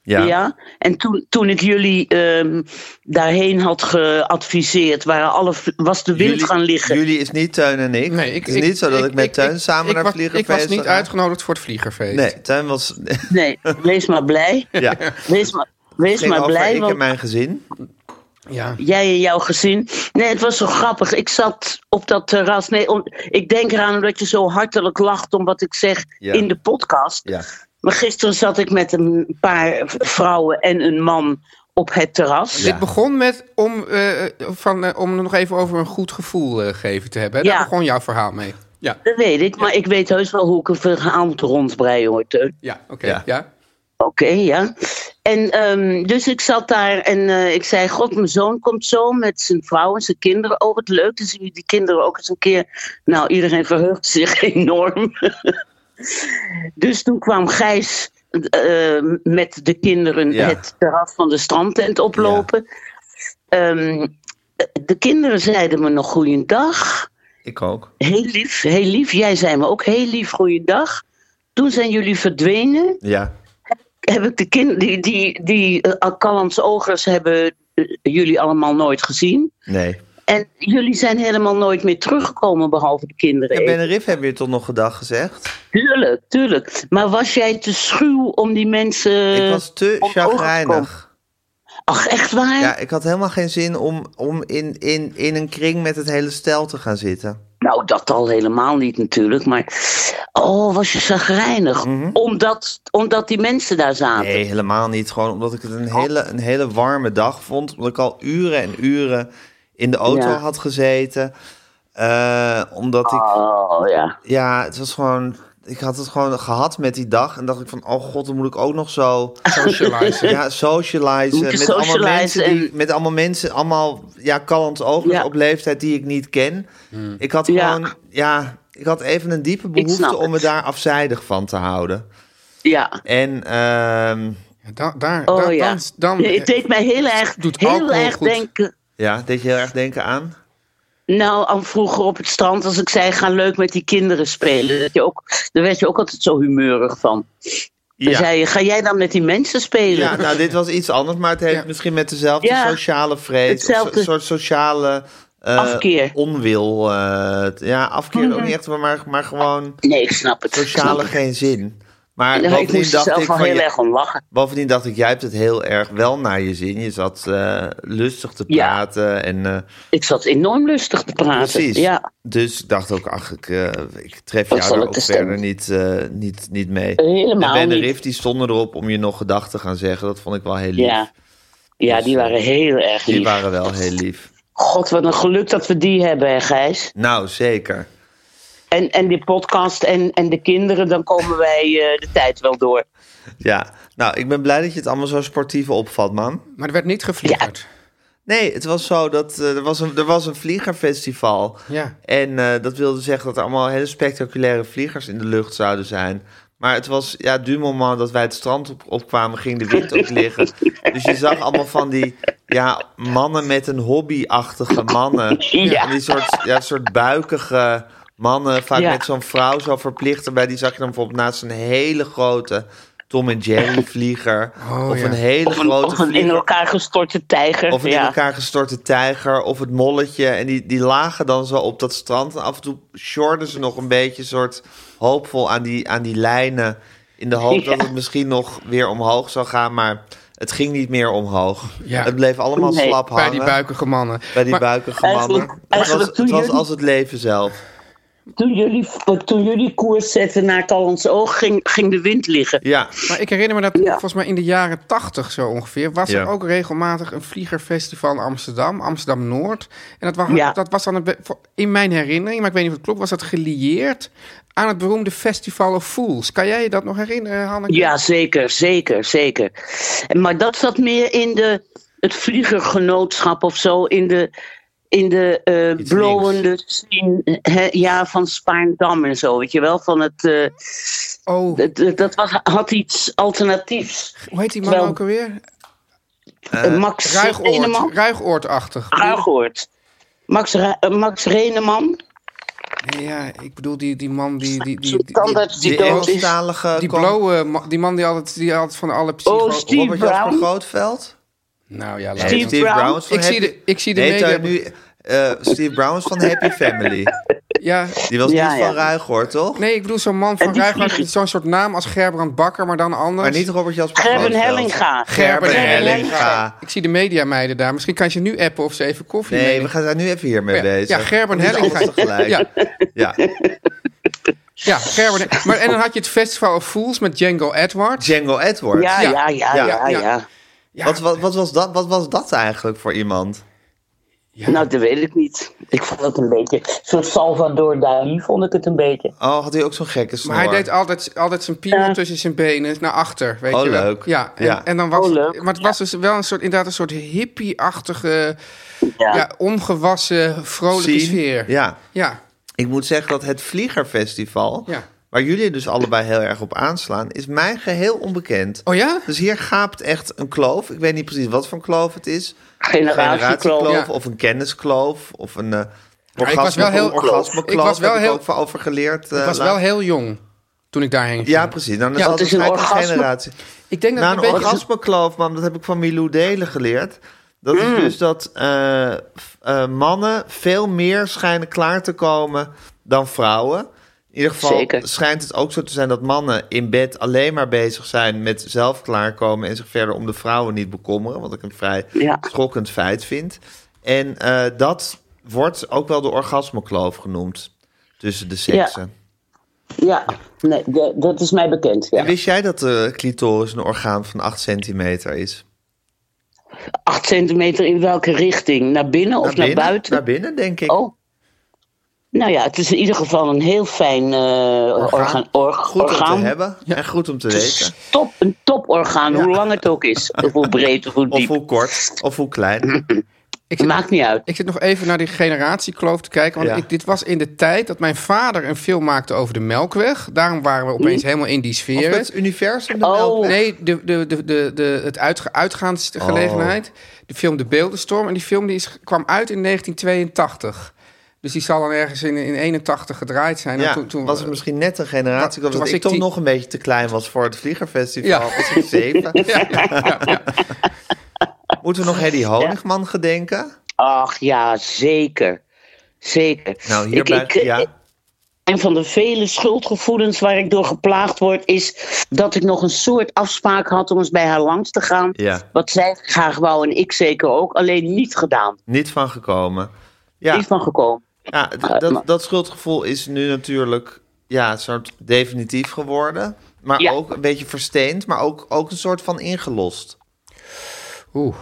Speaker 2: Ja.
Speaker 6: Ja. En toen, toen ik jullie ehm, daarheen had geadviseerd, waren alle, vl- was de wind
Speaker 2: Jullie-
Speaker 6: gaan liggen.
Speaker 2: Jullie is niet Teun en ik.
Speaker 3: Nee, ik,
Speaker 2: het is niet zo dat ik, met Teun samen
Speaker 3: ik
Speaker 2: naar
Speaker 3: was-
Speaker 2: vliegerfeest
Speaker 3: Ik was niet uitgenodigd voor het vliegerfeest.
Speaker 2: Nee, Teun was... (laughs)
Speaker 6: Nee, wees maar
Speaker 3: (laughs)
Speaker 6: blij.
Speaker 2: ja,
Speaker 6: Wees maar, wees
Speaker 2: ging
Speaker 6: maar
Speaker 2: over
Speaker 6: blij.
Speaker 2: ik
Speaker 6: want-
Speaker 2: en mijn gezin.
Speaker 3: Ja.
Speaker 6: Jij en jouw gezin. Nee, het was zo grappig. Ik zat op dat terras. Nee, om- ik denk eraan omdat je zo hartelijk lacht om wat ik zeg
Speaker 2: Ja.
Speaker 6: in de podcast.
Speaker 2: Ja.
Speaker 6: Maar gisteren zat ik met een paar vrouwen en een man op het terras.
Speaker 3: Dit begon met om, eh, van, eh, om nog even over een goed gevoel eh, gegeven te hebben. hè?
Speaker 6: Ja.
Speaker 3: Daar begon jouw verhaal mee. Ja,
Speaker 6: Dat weet ik, maar ik weet heus wel hoe ik een verhaal moet rondbreien hoor, Teun.
Speaker 3: ja oké.
Speaker 2: Ja.
Speaker 3: Ja.
Speaker 6: Oké, ja. En ehm, dus ik zat daar en eh, ik zei: God, mijn zoon komt zo met zijn vrouw en zijn kinderen. Oh, wat leuk. Dan zien we die kinderen ook eens een keer. Nou, iedereen verheugt zich (laughs) enorm. dus toen kwam Gijs eh, met de kinderen
Speaker 2: Ja.
Speaker 6: het terras van de strandtent oplopen. Ehm, de kinderen zeiden me nog goeiedag.
Speaker 2: Ik ook.
Speaker 6: Heel lief, heel lief. Jij zei me ook heel lief goeiedag. Toen zijn jullie verdwenen
Speaker 2: Ja.
Speaker 6: heb ik de kind, die, die, die eh, Callans Ogers hebben eh, jullie allemaal nooit gezien.
Speaker 2: Nee.
Speaker 6: En jullie zijn helemaal nooit meer teruggekomen, behalve de kinderen.
Speaker 2: En
Speaker 6: even.
Speaker 2: Ben en Riff hebben je toch nog gedag gezegd?
Speaker 6: Tuurlijk, tuurlijk. Maar was jij te schuw om die mensen...
Speaker 2: ik was te
Speaker 6: Eh, om ogen
Speaker 2: chagrijnig.
Speaker 6: Ach, echt waar?
Speaker 2: Ja, ik had helemaal geen zin om, om in, in, in een kring met het hele stel te gaan zitten.
Speaker 6: Nou, dat al helemaal niet natuurlijk. Maar, oh, was je zagrijnig. omdat, omdat die mensen daar zaten.
Speaker 2: Nee, helemaal niet. Gewoon omdat ik het een hele, een hele warme dag vond. Omdat ik al uren en uren in de auto
Speaker 6: Ja.
Speaker 2: had gezeten. Eh, omdat ik
Speaker 6: Oh, ja.
Speaker 2: Ja, het was gewoon. Ik had het gewoon gehad met die dag. En dacht ik van, oh god, dan moet ik ook nog zo.
Speaker 6: (laughs)
Speaker 3: Socializen.
Speaker 2: Ja, (laughs) socializen.
Speaker 6: Moet je
Speaker 2: Met allemaal,
Speaker 6: socializen
Speaker 2: mensen die,
Speaker 6: en-
Speaker 2: met allemaal mensen, allemaal ja, kallend ogen
Speaker 6: Ja.
Speaker 2: op leeftijd die ik niet ken. Ik had
Speaker 6: Ja.
Speaker 2: gewoon, ja, ik had even een diepe
Speaker 6: snap
Speaker 2: behoefte om me
Speaker 6: het.
Speaker 2: daar afzijdig van te houden.
Speaker 6: Ja.
Speaker 2: En ehm,
Speaker 3: Da- daar,
Speaker 6: Oh
Speaker 3: daar,
Speaker 6: ja.
Speaker 3: dan,
Speaker 6: (laughs)
Speaker 3: dan,
Speaker 6: Nee, het deed mij heel erg,
Speaker 3: doet
Speaker 6: heel
Speaker 3: alcohol
Speaker 6: erg
Speaker 3: goed.
Speaker 6: denken...
Speaker 2: ja, deed je heel erg denken aan?
Speaker 6: Nou, aan vroeger op het strand, als ik zei, ga leuk met die kinderen spelen. Dat je ook, daar werd je ook altijd zo humeurig van. Dan
Speaker 2: Ja.
Speaker 6: zei je, ga jij dan met die mensen spelen?
Speaker 2: Ja, nou, dit was iets anders, maar het heeft
Speaker 3: Ja.
Speaker 2: misschien met dezelfde
Speaker 6: Ja.
Speaker 2: sociale vrees, of
Speaker 6: Hetzelfde.
Speaker 2: zo- soort sociale eh,
Speaker 6: Afkeer.
Speaker 2: onwil. eh, t- ja, afkeer ook niet echt, maar, maar gewoon
Speaker 6: Nee, ik snap het. ik snap
Speaker 2: sociale
Speaker 6: het.
Speaker 2: geen zin. Maar
Speaker 6: Ja, ik
Speaker 2: bovendien
Speaker 6: moest er
Speaker 2: dacht
Speaker 6: zelf
Speaker 2: ik,
Speaker 6: al
Speaker 2: van,
Speaker 6: heel
Speaker 2: je-
Speaker 6: erg om lachen.
Speaker 2: bovendien dacht ik, jij hebt het heel erg wel naar je zin. Je zat eh, lustig te
Speaker 6: Ja.
Speaker 2: praten en eh,
Speaker 6: Ik zat enorm lustig te praten.
Speaker 2: precies.
Speaker 6: Ja,
Speaker 2: Dus ik dacht ook, ach, ik, eh, ik tref
Speaker 6: Wat
Speaker 2: jou
Speaker 6: zal
Speaker 2: er
Speaker 6: het
Speaker 2: ook
Speaker 6: te
Speaker 2: verder
Speaker 6: stemmen?
Speaker 2: niet, eh, niet, niet mee.
Speaker 6: Helemaal
Speaker 2: en Ben en
Speaker 6: niet.
Speaker 2: Riff, die stonden erop om je nog gedachten te gaan zeggen. Dat vond ik wel heel lief.
Speaker 6: ja. ja, die waren heel erg
Speaker 2: Die
Speaker 6: lief.
Speaker 2: waren wel heel lief.
Speaker 6: God, wat een geluk dat we die hebben, hè, Gijs.
Speaker 2: Nou, zeker.
Speaker 6: En, en die podcast en, en de kinderen, dan komen wij eh, de tijd wel door.
Speaker 2: Ja. Nou, ik ben blij dat je het allemaal zo sportief opvat, man.
Speaker 3: Maar er werd niet gevliegerd.
Speaker 2: Nee, het was zo dat eh, er, was een, er was een vliegerfestival.
Speaker 3: Ja.
Speaker 2: En eh, dat wilde zeggen dat er allemaal hele spectaculaire vliegers in de lucht zouden zijn. Maar het was, ja, du moment dat wij het strand op, opkwamen, ging de wind ook liggen. Dus je zag allemaal van die, ja, mannen met een hobby-achtige mannen.
Speaker 6: Ja.
Speaker 2: En die soort, ja, soort buikige mannen, vaak
Speaker 6: Ja.
Speaker 2: met zo'n vrouw zo verplicht erbij. Die zag je dan bijvoorbeeld naast een hele grote Tom en Jerry vlieger.
Speaker 3: Oh,
Speaker 2: of
Speaker 3: ja.
Speaker 2: een hele
Speaker 6: Of een,
Speaker 2: grote
Speaker 6: of een in
Speaker 2: vlieger.
Speaker 6: elkaar gestorte tijger.
Speaker 2: (laughs) Of een
Speaker 6: ja.
Speaker 2: in elkaar gestorte tijger. Of het molletje. En die, die lagen dan zo op dat strand. En af en toe sjorden ze nog een beetje soort hoopvol aan die, aan die lijnen. In de hoop dat
Speaker 6: Ja.
Speaker 2: het misschien nog weer omhoog zou gaan. Maar het ging niet meer omhoog.
Speaker 3: Ja.
Speaker 2: Het bleef allemaal
Speaker 6: Nee.
Speaker 2: slap
Speaker 3: Bij
Speaker 2: hangen.
Speaker 3: die buikige mannen.
Speaker 2: bij die
Speaker 3: Maar-
Speaker 2: buikige mannen.
Speaker 6: Eigenlijk-
Speaker 2: Het
Speaker 6: eigenlijk
Speaker 2: was,
Speaker 6: toen
Speaker 2: het was
Speaker 6: jullie-
Speaker 2: als het leven zelf.
Speaker 6: Toen jullie, eh, toen jullie koers zetten naar Callans Oog, ging, ging de wind liggen.
Speaker 2: Ja,
Speaker 3: Maar ik herinner me dat
Speaker 6: Ja.
Speaker 3: volgens mij in de jaren tachtig zo ongeveer... was
Speaker 2: Ja.
Speaker 3: er ook regelmatig een vliegerfestival in Amsterdam, Amsterdam-Noord. En dat was,
Speaker 6: Ja.
Speaker 3: dat was dan, een be- voor- in mijn herinnering, maar ik weet niet of het klopt... was dat gelieerd aan het beroemde Festival of Fools. Kan jij je dat nog herinneren, Hanneke?
Speaker 6: Ja, zeker, zeker, zeker. En Maar dat zat meer in de, het vliegergenootschap of zo, in de, in de eh
Speaker 2: Iets
Speaker 6: blowende scene hè, ja, van Spaarndam en zo, weet je wel? Van het, eh,
Speaker 3: Oh,
Speaker 6: het- het- dat was, had iets alternatiefs.
Speaker 3: hoe heet die man
Speaker 6: Wel-
Speaker 3: ook alweer?
Speaker 6: Eh, Max
Speaker 3: Ruigoord.
Speaker 6: Reneman.
Speaker 3: Ruigoordachtig.
Speaker 6: Ruigoord. Max, Ra- eh, Max Reneman.
Speaker 3: Nee, ja, ik bedoel die, die man die... die, die,
Speaker 6: Zo'n
Speaker 3: die,
Speaker 6: tandarts die,
Speaker 2: die
Speaker 6: dood is.
Speaker 2: Engelstalige...
Speaker 3: die
Speaker 2: kom-
Speaker 3: blauwe ma- die man die altijd, die altijd van alle psycho...
Speaker 6: Oh, Steve
Speaker 2: Robert Jasper
Speaker 6: Brown.
Speaker 2: Grootveld?
Speaker 3: Nou ja,
Speaker 2: Nee,
Speaker 3: laat
Speaker 6: Steve
Speaker 3: het.
Speaker 6: Brown.
Speaker 2: Brown is van
Speaker 3: Ik zie
Speaker 2: Happy-
Speaker 3: de, ik zie de
Speaker 2: Nee,
Speaker 3: media...
Speaker 2: daar nu, eh, Steve Brown is van Happy Family.
Speaker 3: Ja,
Speaker 2: Die was
Speaker 6: Ja,
Speaker 2: niet
Speaker 6: ja.
Speaker 2: van Ruigoord, toch?
Speaker 3: Nee, ik bedoel zo'n man van
Speaker 6: En die
Speaker 3: Rijgaard,
Speaker 6: vliegen.
Speaker 3: zo'n soort naam als Gerbrand Bakker, maar dan anders.
Speaker 2: Maar niet Robert Jasper
Speaker 6: Gerben
Speaker 2: Grootveld.
Speaker 6: Hellinga.
Speaker 3: Gerben
Speaker 2: Gerben
Speaker 3: Hellinga.
Speaker 2: Hellinga.
Speaker 3: Ik zie de mediameiden daar. Misschien kan je nu appen of ze even koffie
Speaker 2: Nee, we
Speaker 3: meenemen.
Speaker 2: gaan daar nu even hiermee
Speaker 3: Ja,
Speaker 2: bezig.
Speaker 3: ja, Gerben
Speaker 2: Niet
Speaker 3: Hellinga.
Speaker 2: alles tegelijk.
Speaker 3: Ja.
Speaker 2: Ja. ja.
Speaker 3: Ja, Gerben. Maar, en dan had je het Festival of Fools met Django Edwards.
Speaker 2: Django Edwards.
Speaker 6: Ja, ja, ja, ja,
Speaker 3: Ja,
Speaker 6: ja.
Speaker 3: ja. Ja,
Speaker 2: Wat, wat, wat, was dat, wat was dat eigenlijk voor iemand?
Speaker 3: ja.
Speaker 6: Nou, dat weet ik niet. Ik vond het een beetje. Zo'n Salvador Dali vond ik het een beetje.
Speaker 2: Oh, had hij ook zo'n gekke snor?
Speaker 3: maar hij deed altijd, altijd zijn piemel tussen zijn benen naar achter. Weet
Speaker 2: Oh,
Speaker 3: je wel.
Speaker 2: leuk.
Speaker 3: Ja, en,
Speaker 2: Ja.
Speaker 3: en dan was,
Speaker 6: Oh, leuk.
Speaker 3: Maar het was dus wel een soort, inderdaad een soort hippie-achtige, ja. ongewassen, vrolijke
Speaker 2: Zien?
Speaker 3: sfeer.
Speaker 2: Ja,
Speaker 3: ja.
Speaker 2: ik moet zeggen dat het Vliegerfestival,
Speaker 3: Ja.
Speaker 2: waar jullie dus allebei heel erg op aanslaan, is mij geheel onbekend.
Speaker 3: Oh ja?
Speaker 2: Dus hier gaapt echt een kloof. Ik weet niet precies wat voor een kloof het is. Een
Speaker 6: Generatiekloof.
Speaker 2: generatiekloof
Speaker 3: Ja.
Speaker 2: of een kenniskloof of een eh
Speaker 3: was
Speaker 2: orgasme,
Speaker 3: wel heel-
Speaker 2: orgasmekloof.
Speaker 3: Ik was wel
Speaker 2: heb
Speaker 3: heel-
Speaker 2: ik ook van over geleerd. eh,
Speaker 3: Ik was
Speaker 2: laat-
Speaker 3: wel heel jong toen ik daarheen ging.
Speaker 2: Ja, precies. Nou, Dan is
Speaker 3: Ja,
Speaker 2: het
Speaker 6: het is
Speaker 2: altijd
Speaker 6: een
Speaker 2: een
Speaker 6: orgasme.
Speaker 2: generatie.
Speaker 3: Ik denk dat
Speaker 2: Na
Speaker 3: het
Speaker 2: een
Speaker 3: een beetje...
Speaker 2: orgasmekloof, man, dat heb ik van Milou Delen geleerd. Dat is dus dat eh, f- eh, mannen veel meer schijnen klaar te komen dan vrouwen. In ieder geval
Speaker 6: Zeker.
Speaker 2: schijnt het ook zo te zijn dat mannen in bed alleen maar bezig zijn met zelf klaarkomen en zich verder om de vrouwen niet bekommeren. Wat ik een vrij
Speaker 6: Ja.
Speaker 2: schokkend feit vind. En eh, dat wordt ook wel de orgasmekloof genoemd tussen de seksen.
Speaker 6: Ja, nee, de- dat is mij bekend. Ja.
Speaker 2: En wist jij dat de clitoris een orgaan van 8 centimeter is?
Speaker 6: Acht centimeter in welke richting? Naar binnen of naar,
Speaker 2: binnen,
Speaker 6: buiten?
Speaker 2: Naar binnen, denk ik.
Speaker 6: Oh. Nou ja, het is in ieder geval een heel fijn eh orgaan. org-
Speaker 2: Goed om
Speaker 6: orgaan.
Speaker 2: te hebben en goed om te
Speaker 6: Het
Speaker 2: weten.
Speaker 6: is Top, een toporgaan, hoe lang het ook
Speaker 2: (laughs)
Speaker 6: is. Of hoe breed of hoe
Speaker 2: Of
Speaker 6: diep.
Speaker 2: hoe kort, of hoe klein.
Speaker 6: Maakt niet uit.
Speaker 3: Ik zit nog even naar die generatiekloof te kijken. Want
Speaker 2: Ja.
Speaker 3: ik- dit was in de tijd dat mijn vader een film maakte over de Melkweg. Daarom waren we opeens helemaal in die
Speaker 2: Of
Speaker 3: sfeer.
Speaker 2: het universum. de
Speaker 6: Oh.
Speaker 2: melk-
Speaker 3: Nee, de, de, de, de, de, het uitge, uitgaansgelegenheid.
Speaker 2: Oh.
Speaker 3: De film De Beeldenstorm. En die film die is, kwam uit in 1982. Dus die zal dan ergens in, in 81 gedraaid zijn. En
Speaker 2: Ja,
Speaker 3: toen, toen
Speaker 2: was het misschien net een generatie.
Speaker 3: Toen
Speaker 2: dat
Speaker 3: was
Speaker 2: ik
Speaker 3: ik
Speaker 2: toch
Speaker 3: tien-
Speaker 2: nog een beetje te klein was voor het Vliegerfestival.
Speaker 3: Ja.
Speaker 2: Was ik
Speaker 3: (laughs)
Speaker 2: zeven.
Speaker 3: Ja,
Speaker 2: (laughs)
Speaker 3: ja, ja.
Speaker 2: Moeten we nog Hedy Honigman gedenken?
Speaker 6: Ach ja, zeker. Zeker.
Speaker 2: Nou, hierbij...
Speaker 6: Ik- eh, ik-
Speaker 2: ja.
Speaker 6: Een van de vele schuldgevoelens waar ik door geplaagd word, is dat ik nog een soort afspraak had om eens bij haar langs te gaan.
Speaker 2: Ja.
Speaker 6: Wat zij graag wou en ik zeker ook, alleen niet gedaan.
Speaker 2: Niet van gekomen. Ja,
Speaker 6: Niet van Ah, gekomen.
Speaker 2: ja d- dat, dat schuldgevoel is nu natuurlijk ja, een soort definitief geworden. Maar
Speaker 6: Ja.
Speaker 2: ook een beetje versteend, maar ook, ook een soort van ingelost.
Speaker 3: Oeh.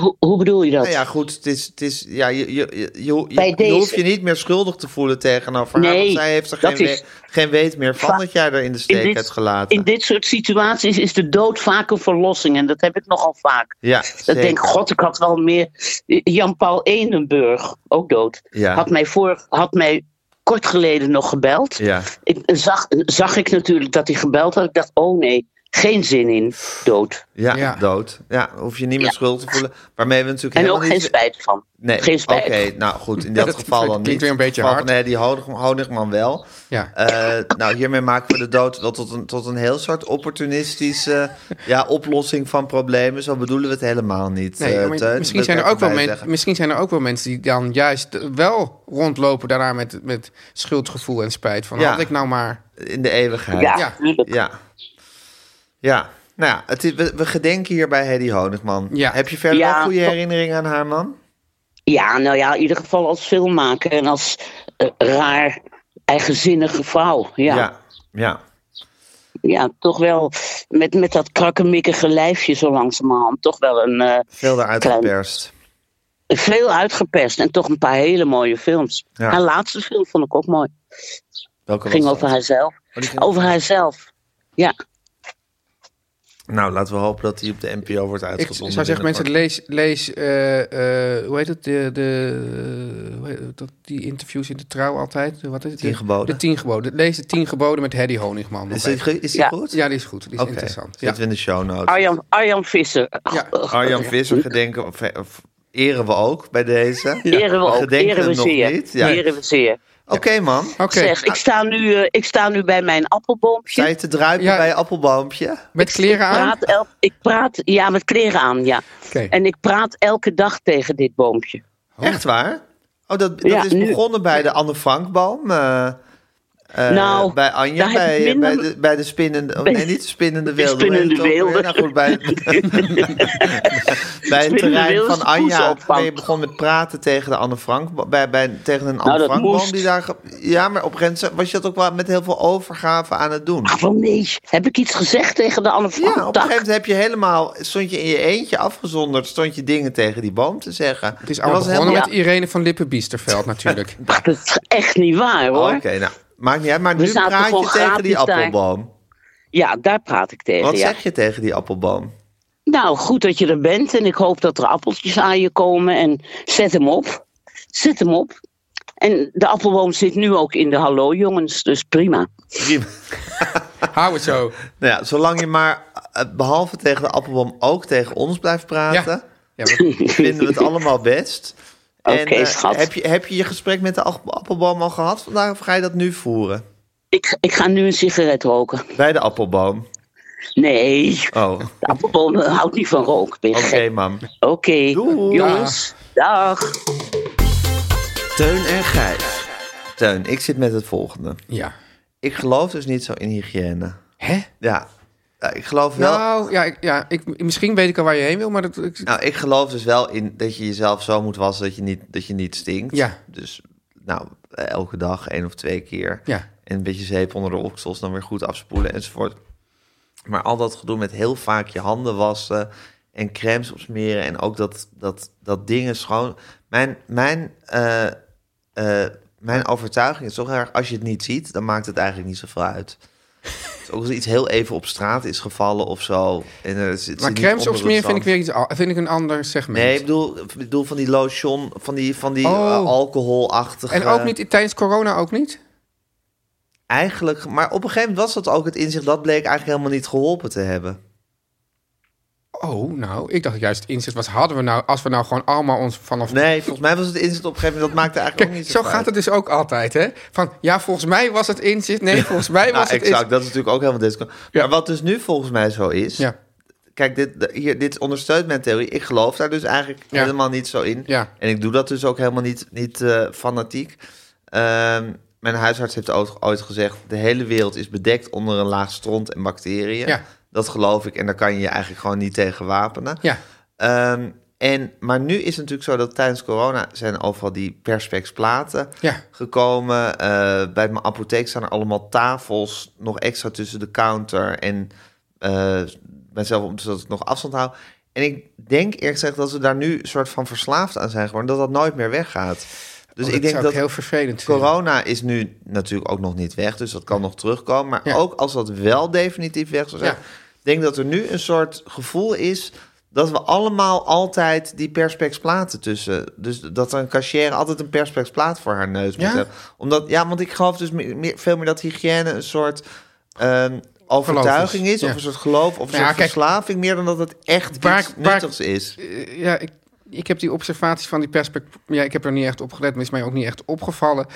Speaker 6: Hoe, hoe bedoel je dat?
Speaker 2: Nou ja, goed, het is, het is, ja, je, je, je, je, je-
Speaker 6: Bij
Speaker 2: je
Speaker 6: deze-
Speaker 2: hoeft je niet meer schuldig te voelen tegenover haar.
Speaker 6: Nee,
Speaker 2: Want zij heeft er
Speaker 6: dat
Speaker 2: geen, we-
Speaker 6: is-
Speaker 2: geen weet meer van
Speaker 6: Va-
Speaker 2: dat jij er in de steek hebt gelaten.
Speaker 6: in dit soort situaties is de dood vaak een verlossing. En dat heb ik nogal vaak.
Speaker 2: Ja,
Speaker 6: Dat
Speaker 2: zeker.
Speaker 6: ik denk, god, ik had wel meer. Jan-Paul Enenburg, ook dood,
Speaker 2: Ja.
Speaker 6: had, mij voor, had mij kort geleden nog gebeld.
Speaker 2: Ja.
Speaker 6: Ik, zag, zag ik natuurlijk dat hij gebeld had. Ik dacht, oh nee, geen zin in, dood.
Speaker 2: Ja,
Speaker 3: Ja.
Speaker 2: dood. Ja, hoef je niet meer
Speaker 6: Ja.
Speaker 2: schuldig te voelen. Waarmee we natuurlijk
Speaker 6: En
Speaker 2: helemaal
Speaker 6: ook geen
Speaker 2: niet...
Speaker 6: spijt van.
Speaker 2: Nee,
Speaker 6: geen spijt.
Speaker 2: Oké, nou goed,
Speaker 3: (laughs)
Speaker 2: in dat,
Speaker 3: Dat
Speaker 2: geval dan niet.
Speaker 3: klinkt weer een beetje
Speaker 2: Geval
Speaker 3: hard.
Speaker 2: van Hedy Honig- Honigman wel.
Speaker 3: Ja.
Speaker 2: Eh, nou, hiermee maken we de dood wel tot een, tot een heel soort opportunistische ja, oplossing van problemen. Zo bedoelen we het helemaal niet.
Speaker 3: Nee,
Speaker 2: eh,
Speaker 3: maar
Speaker 2: Teun.
Speaker 3: misschien,
Speaker 2: Dat
Speaker 3: zijn er
Speaker 2: wil ik
Speaker 3: ook wel
Speaker 2: erbij
Speaker 3: men-
Speaker 2: zeggen.
Speaker 3: misschien zijn er ook wel mensen die dan juist wel rondlopen daarna met, met schuldgevoel en spijt. Van
Speaker 2: Ja.
Speaker 3: had ik nou maar.
Speaker 2: In de eeuwigheid.
Speaker 6: Ja,
Speaker 3: Ja.
Speaker 6: tuurlijk.
Speaker 2: Ja. Ja. Nou ja, het is, we, we gedenken hier bij Hedy Honigman.
Speaker 3: Ja.
Speaker 2: Heb je verder
Speaker 6: Ja.
Speaker 2: wel goede herinneringen aan haar man?
Speaker 6: Ja, nou ja, in ieder geval als filmmaker en als eh, raar, eigenzinnige vrouw. Ja, ja.
Speaker 2: Ja. Ja.
Speaker 6: toch wel met, met dat krakkemikkige lijfje zo langzamerhand. Toch wel een, eh,
Speaker 2: Veel eruit
Speaker 6: Klein.
Speaker 2: geperst.
Speaker 6: veel uitgeperst en toch een paar hele mooie films.
Speaker 2: Ja.
Speaker 6: Haar laatste film vond ik ook mooi.
Speaker 2: Welke was
Speaker 6: ging
Speaker 2: dat?
Speaker 6: over haarzelf.
Speaker 2: Oh, die ging
Speaker 6: over haarzelf. Ja,
Speaker 2: Nou, laten we hopen dat die op de NPO wordt
Speaker 3: Ik
Speaker 2: uitgezonden.
Speaker 3: zou zeggen, mensen,
Speaker 2: binnenkort.
Speaker 3: lees, lees eh, eh, hoe heet het? De, de, hoe heet het? dat, die interviews in de trouw altijd. Wat is het?
Speaker 2: Tien geboden.
Speaker 3: De tien geboden. Lees de tien geboden met Hedy Honigman. nog
Speaker 2: Is die,
Speaker 3: even.
Speaker 2: ge- is die
Speaker 6: Ja.
Speaker 2: goed?
Speaker 3: Ja, die is goed. Die is
Speaker 2: Oké.
Speaker 3: interessant. Ja.
Speaker 2: Zitten we in de show notes.
Speaker 6: Arjan, Arjan Visser. Oh,
Speaker 3: Ja.
Speaker 2: Arjan Visser gedenken, of, of eren we ook bij deze.
Speaker 6: (laughs) Eren we ook,
Speaker 2: Gedenken
Speaker 6: eren we
Speaker 2: nog
Speaker 6: zeer.
Speaker 2: niet. Ja.
Speaker 6: Eren we zeer.
Speaker 2: Oké man,
Speaker 3: Oké,
Speaker 6: Zeg, ik sta, nu, eh, ik sta nu bij mijn appelboompje.
Speaker 2: sta je te druipen
Speaker 3: Ja.
Speaker 2: bij je appelboompje?
Speaker 3: met kleren
Speaker 6: Ik
Speaker 3: aan.
Speaker 6: praat, el- ik praat, ja, met kleren aan, ja.
Speaker 3: Oké.
Speaker 6: En ik praat elke dag tegen dit boompje.
Speaker 2: Echt waar? Oh, dat, dat
Speaker 6: Ja,
Speaker 2: is
Speaker 6: nu-
Speaker 2: begonnen bij de Anne Frankboom. eh Eh,
Speaker 6: Nou,
Speaker 2: bij Anja,
Speaker 6: daar heb
Speaker 2: bij,
Speaker 6: ik minder-
Speaker 2: bij, de, bij de spinnende... oh, nee, niet de spinnende
Speaker 6: (laughs) De
Speaker 2: wilde. hoe heet het
Speaker 6: spinnende
Speaker 2: ook weer?
Speaker 6: wilde.
Speaker 2: Nou goed,
Speaker 6: (laughs)
Speaker 2: (laughs) bij, bij het
Speaker 6: Spinnende
Speaker 2: terrein
Speaker 6: wilde
Speaker 2: van
Speaker 6: is de
Speaker 2: Anja.
Speaker 6: poesopvang.
Speaker 2: Ben je begon met praten tegen de Anne Frank... Bij, bij, tegen een Anne
Speaker 6: Nou, dat
Speaker 2: Frankboom
Speaker 6: moest.
Speaker 2: die daar... ge- Ja, maar op een gegeven moment was je dat ook wel met heel veel overgave aan het doen.
Speaker 6: Ach, Ah, wel nee. Heb ik iets gezegd tegen de Anne
Speaker 2: Ja, op een
Speaker 6: Frank?
Speaker 2: gegeven moment heb je helemaal, stond je in je eentje afgezonderd, stond je dingen tegen die boom te zeggen.
Speaker 3: Het is allemaal begonnen
Speaker 2: helemaal...
Speaker 3: met Irene van
Speaker 2: (laughs)
Speaker 3: Lippe-Biesterveld natuurlijk.
Speaker 6: Ach, dat is echt niet waar, hoor.
Speaker 2: Oké, nou, maakt niet uit, maar
Speaker 6: We
Speaker 2: nu
Speaker 6: zaten
Speaker 2: praat
Speaker 6: gewoon
Speaker 2: je tegen die
Speaker 6: gratis daar.
Speaker 2: appelboom.
Speaker 6: Ja, daar praat ik tegen,
Speaker 2: Wat
Speaker 6: ja.
Speaker 2: zeg je tegen die appelboom?
Speaker 6: Nou, goed dat je er bent en ik hoop dat er appeltjes aan je komen. En zet hem op. Zet hem op. En de appelboom zit nu ook in de hallo, jongens, dus prima.
Speaker 2: Prima.
Speaker 3: Hou het zo.
Speaker 2: Nou ja, zolang je maar eh, behalve tegen de appelboom ook tegen ons blijft praten,
Speaker 3: Ja, maar-
Speaker 2: vinden we
Speaker 6: (laughs)
Speaker 2: het allemaal best. En,
Speaker 6: Oké,
Speaker 2: eh,
Speaker 6: schat.
Speaker 2: Heb je, heb je je gesprek met de ap- appelboom al gehad vandaag of ga je dat nu voeren?
Speaker 6: Ik, ik ga nu een sigaret roken.
Speaker 2: Bij de appelboom.
Speaker 6: Nee,
Speaker 2: Oh, oké
Speaker 6: de appelboom houdt niet van rook. ben je gek?
Speaker 2: mam.
Speaker 6: Oké,
Speaker 2: Doei.
Speaker 6: jongens, dag.
Speaker 2: Teun en Gijs. Teun, ik zit met het volgende.
Speaker 3: ja.
Speaker 2: Ik geloof dus niet zo in hygiëne.
Speaker 3: Hè?
Speaker 2: Ja, Ja, ik geloof wel. Nou,
Speaker 3: Nou, ja, ik, ja ik, misschien weet ik al waar je heen wil, maar dat... Ik,
Speaker 2: ik geloof dus wel in dat je jezelf zo moet wassen dat je niet, dat je niet stinkt.
Speaker 3: Ja.
Speaker 2: Dus nou, elke dag één of twee keer.
Speaker 3: Ja.
Speaker 2: En een beetje zeep onder de oksels, dan weer goed afspoelen enzovoort. Maar al dat gedoe met heel vaak je handen wassen en crèmes opsmeren en ook dat, dat, dat dingen schoon. Mijn, mijn, eh, eh, mijn overtuiging is toch heel erg, als je het niet ziet, dan maakt het eigenlijk niet zoveel
Speaker 3: (laughs)
Speaker 2: uit. Dus ook als iets heel even op straat is gevallen of zo. En er zit- zit
Speaker 3: maar
Speaker 2: niet
Speaker 3: crèmes
Speaker 2: onder het
Speaker 3: opsmeren vind ik
Speaker 2: zand.
Speaker 3: weer iets, al- vind ik een ander segment.
Speaker 2: Nee, ik bedoel, ik bedoel van die lotion, van die, van die
Speaker 3: Oh.
Speaker 2: eh, alcoholachtige...
Speaker 3: en ook niet, tijdens corona ook niet?
Speaker 2: Eigenlijk, maar op een gegeven moment was dat ook het inzicht. Dat bleek eigenlijk helemaal niet geholpen te hebben.
Speaker 3: Oh, nou, ik dacht juist het inzicht was, hadden we nou, als we nou gewoon allemaal ons vanaf... (laughs)
Speaker 2: Nee, volgens mij was het inzicht op een gegeven moment. Dat maakte eigenlijk ook
Speaker 3: Kijk,
Speaker 2: niet
Speaker 3: zo
Speaker 2: zoveel
Speaker 3: gaat
Speaker 2: uit.
Speaker 3: het dus ook altijd, hè? Van, ja, volgens mij was het inzicht. Nee, volgens mij was
Speaker 2: Nou,
Speaker 3: het
Speaker 2: exact.
Speaker 3: inzicht.
Speaker 2: Dat is natuurlijk ook helemaal disco.
Speaker 3: Ja.
Speaker 2: Maar wat dus nu volgens mij zo is.
Speaker 3: Ja.
Speaker 2: Kijk, dit, de- hier, dit ondersteunt mijn theorie. Ik geloof daar dus eigenlijk
Speaker 3: Ja.
Speaker 2: helemaal niet zo in.
Speaker 3: Ja.
Speaker 2: En ik doe dat dus ook helemaal niet, niet eh, fanatiek. Ehm, mijn huisarts heeft ooit, ooit gezegd... de hele wereld is bedekt onder een laag stront en bacteriën.
Speaker 3: Ja.
Speaker 2: Dat geloof ik. En daar kan je je eigenlijk gewoon niet tegen wapenen.
Speaker 3: Ja.
Speaker 2: Ehm, en, maar nu is het natuurlijk zo dat tijdens corona zijn overal die perspex platen
Speaker 3: Ja.
Speaker 2: gekomen. Eh, bij mijn apotheek staan er allemaal tafels nog extra tussen de counter en eh mijzelf om zodat ik nog afstand hou. En ik denk eerlijk gezegd dat ze daar nu soort van verslaafd aan zijn geworden, dat dat nooit meer weggaat. Dus
Speaker 3: Oh,
Speaker 2: ik denk
Speaker 3: zou
Speaker 2: dat
Speaker 3: heel vervelend vinden.
Speaker 2: corona is nu natuurlijk ook nog niet weg, dus dat kan nog terugkomen. Maar
Speaker 3: Ja.
Speaker 2: ook als dat wel definitief weg zou zijn,
Speaker 3: Ja.
Speaker 2: denk dat er nu een soort gevoel is dat we allemaal altijd die perspex platen tussen. Dus dat een cashier altijd een perspex plaat voor haar neus moet
Speaker 3: Ja?
Speaker 2: hebben. Omdat, ja, want ik geloof dus meer, meer- veel meer dat hygiëne een soort ehm, overtuiging is, of
Speaker 3: ja.
Speaker 2: een soort geloof, of een
Speaker 3: Ja,
Speaker 2: soort
Speaker 3: kijk,
Speaker 2: verslaving, meer dan dat het echt
Speaker 3: waar
Speaker 2: iets
Speaker 3: ik- waar ik-
Speaker 2: nuttigs is.
Speaker 3: Eh, ja, ik, ik heb die observaties van die perspectief... Ja, ik heb er niet echt op gelet, maar is mij ook niet echt opgevallen.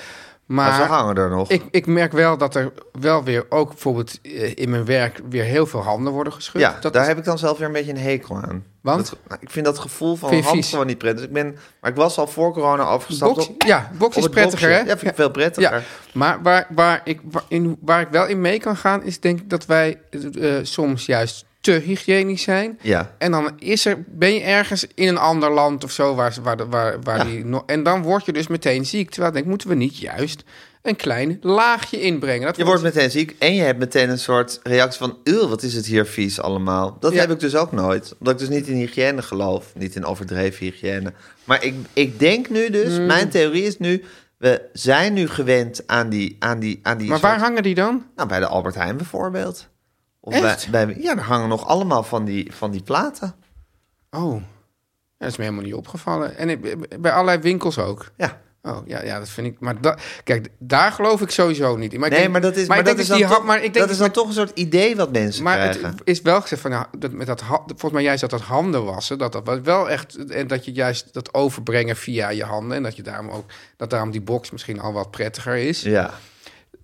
Speaker 2: Maar ze
Speaker 3: Maar
Speaker 2: hangen er nog.
Speaker 3: ik, ik merk wel dat er wel weer ook bijvoorbeeld eh, in mijn werk... weer heel veel handen worden geschud.
Speaker 2: Ja,
Speaker 3: dat
Speaker 2: daar
Speaker 3: is-
Speaker 2: heb ik dan zelf weer een beetje een hekel aan.
Speaker 3: Want?
Speaker 2: Dat- nou, ik vind dat gevoel van
Speaker 3: Vind
Speaker 2: hand
Speaker 3: je vies?
Speaker 2: gewoon niet prettig. Dus ik ben, maar ik was al voor corona afgestapt.
Speaker 3: Box,
Speaker 2: op-
Speaker 3: ja,
Speaker 2: op
Speaker 3: box is
Speaker 2: het
Speaker 3: prettiger,
Speaker 2: boksen.
Speaker 3: hè?
Speaker 2: Ja, vind ik veel prettiger.
Speaker 3: Ja, maar waar, waar, ik, waar, in, waar ik wel in mee kan gaan, is denk ik dat wij eh, eh, soms juist te hygiënisch zijn.
Speaker 2: Ja.
Speaker 3: En dan is er, ben je ergens in een ander land of zo, waar, ze- waar, de- waar, waar die. no- En dan word je dus meteen ziek. Terwijl ik denk, moeten we niet juist een klein laagje inbrengen? Dat
Speaker 2: Je wordt meteen ziek en je hebt meteen een soort reactie van... "Ew, wat is het hier vies allemaal. Dat
Speaker 3: Ja.
Speaker 2: heb ik dus ook nooit. Omdat ik dus niet in hygiëne geloof. Niet in overdreven hygiëne. Maar ik, ik denk nu dus,
Speaker 3: Hmm.
Speaker 2: mijn theorie is nu... we zijn nu gewend aan die... Aan die, aan die
Speaker 3: maar
Speaker 2: soort-
Speaker 3: waar hangen die dan?
Speaker 2: Nou, bij de Albert Heijn bijvoorbeeld. Of
Speaker 3: Echt?
Speaker 2: Bij, bij, ja, er hangen nog allemaal van die, van die platen.
Speaker 3: Oh, Ja, dat is me helemaal niet opgevallen. En ik- bij allerlei winkels ook.
Speaker 2: Ja.
Speaker 3: Oh, ja, ja, dat vind ik. Maar da- kijk, daar geloof ik sowieso niet in. Maar ik
Speaker 2: Nee,
Speaker 3: denk-
Speaker 2: maar dat is, maar
Speaker 3: ik
Speaker 2: dat is
Speaker 3: denk dus
Speaker 2: dan,
Speaker 3: die
Speaker 2: toch,
Speaker 3: hap- maar ik denk
Speaker 2: dat
Speaker 3: dus
Speaker 2: is dan toch een soort idee wat mensen
Speaker 3: Maar
Speaker 2: krijgen.
Speaker 3: het is wel gezegd van nou, dat met dat ha- volgens mij juist dat dat handen wassen, dat dat wel echt en dat je juist dat overbrengen via je handen en dat je daarom ook dat daarom die box misschien al wat prettiger is.
Speaker 2: Ja.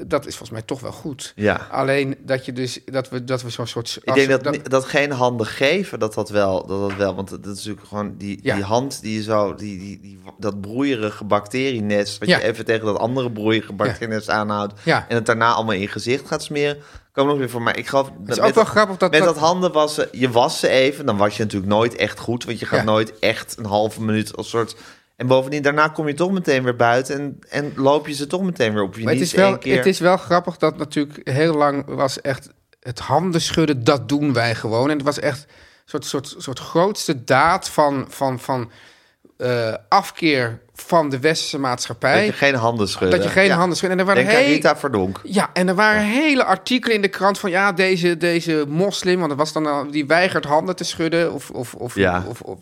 Speaker 3: dat is volgens mij toch wel goed.
Speaker 2: Ja.
Speaker 3: Alleen dat je dus dat we dat we zo'n soort
Speaker 2: Ik denk dat, dat, geen handen geven, dat dat wel, dat dat wel want dat is natuurlijk gewoon die,
Speaker 3: Ja.
Speaker 2: die hand die je zo, die, die, die, dat broeierige bacterienest, wat
Speaker 3: Ja.
Speaker 2: je even tegen dat andere broeierige bacterienest aanhoudt,
Speaker 3: Ja.
Speaker 2: en het daarna allemaal in je gezicht gaat smeren, kan nog weer voor. Maar ik geloof,
Speaker 3: het is
Speaker 2: met
Speaker 3: ook wel grappig dat
Speaker 2: Met dat,
Speaker 3: dat-
Speaker 2: handen wassen, je was ze even, dan was je natuurlijk nooit echt goed, want je gaat
Speaker 3: Ja.
Speaker 2: nooit echt een halve minuut als soort. En bovendien, daarna kom je toch meteen weer buiten en, en loop je ze toch meteen weer op je
Speaker 3: Maar het
Speaker 2: knieën
Speaker 3: is, wel,
Speaker 2: één keer.
Speaker 3: het is wel grappig dat natuurlijk heel lang was echt het handen schudden, dat doen wij gewoon. En het was echt een soort, soort, soort grootste daad van, van, van eh, afkeer van de westerse
Speaker 2: dat je
Speaker 3: maatschappij.
Speaker 2: geen handen schudden.
Speaker 3: Dat je geen
Speaker 2: Ja.
Speaker 3: handen schudden. En er waren
Speaker 2: Denk aan
Speaker 3: heel-
Speaker 2: Rita Verdonk.
Speaker 3: Ja, en er waren hele artikelen in de krant van ja, deze, deze moslim, want dat was dan al- die weigert handen te schudden. Of, of, of,
Speaker 2: Ja.
Speaker 3: of, of-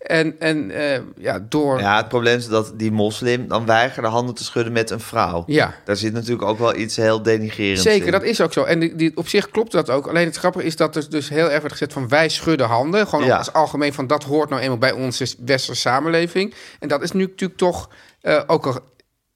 Speaker 3: en en eh, ja, door.
Speaker 2: Ja, het probleem is dat die moslim dan weigerde handen te schudden met een vrouw.
Speaker 3: Ja.
Speaker 2: Daar zit natuurlijk ook wel iets heel denigrerends
Speaker 3: Zeker,
Speaker 2: in.
Speaker 3: dat is ook zo. En die, die, op zich klopt dat ook. Alleen het grappige is dat er dus heel erg werd gezet van wij schudden handen. Gewoon
Speaker 2: Ja.
Speaker 3: als algemeen van dat hoort nou eenmaal bij onze westerse samenleving. En dat is nu natuurlijk toch eh, ook al...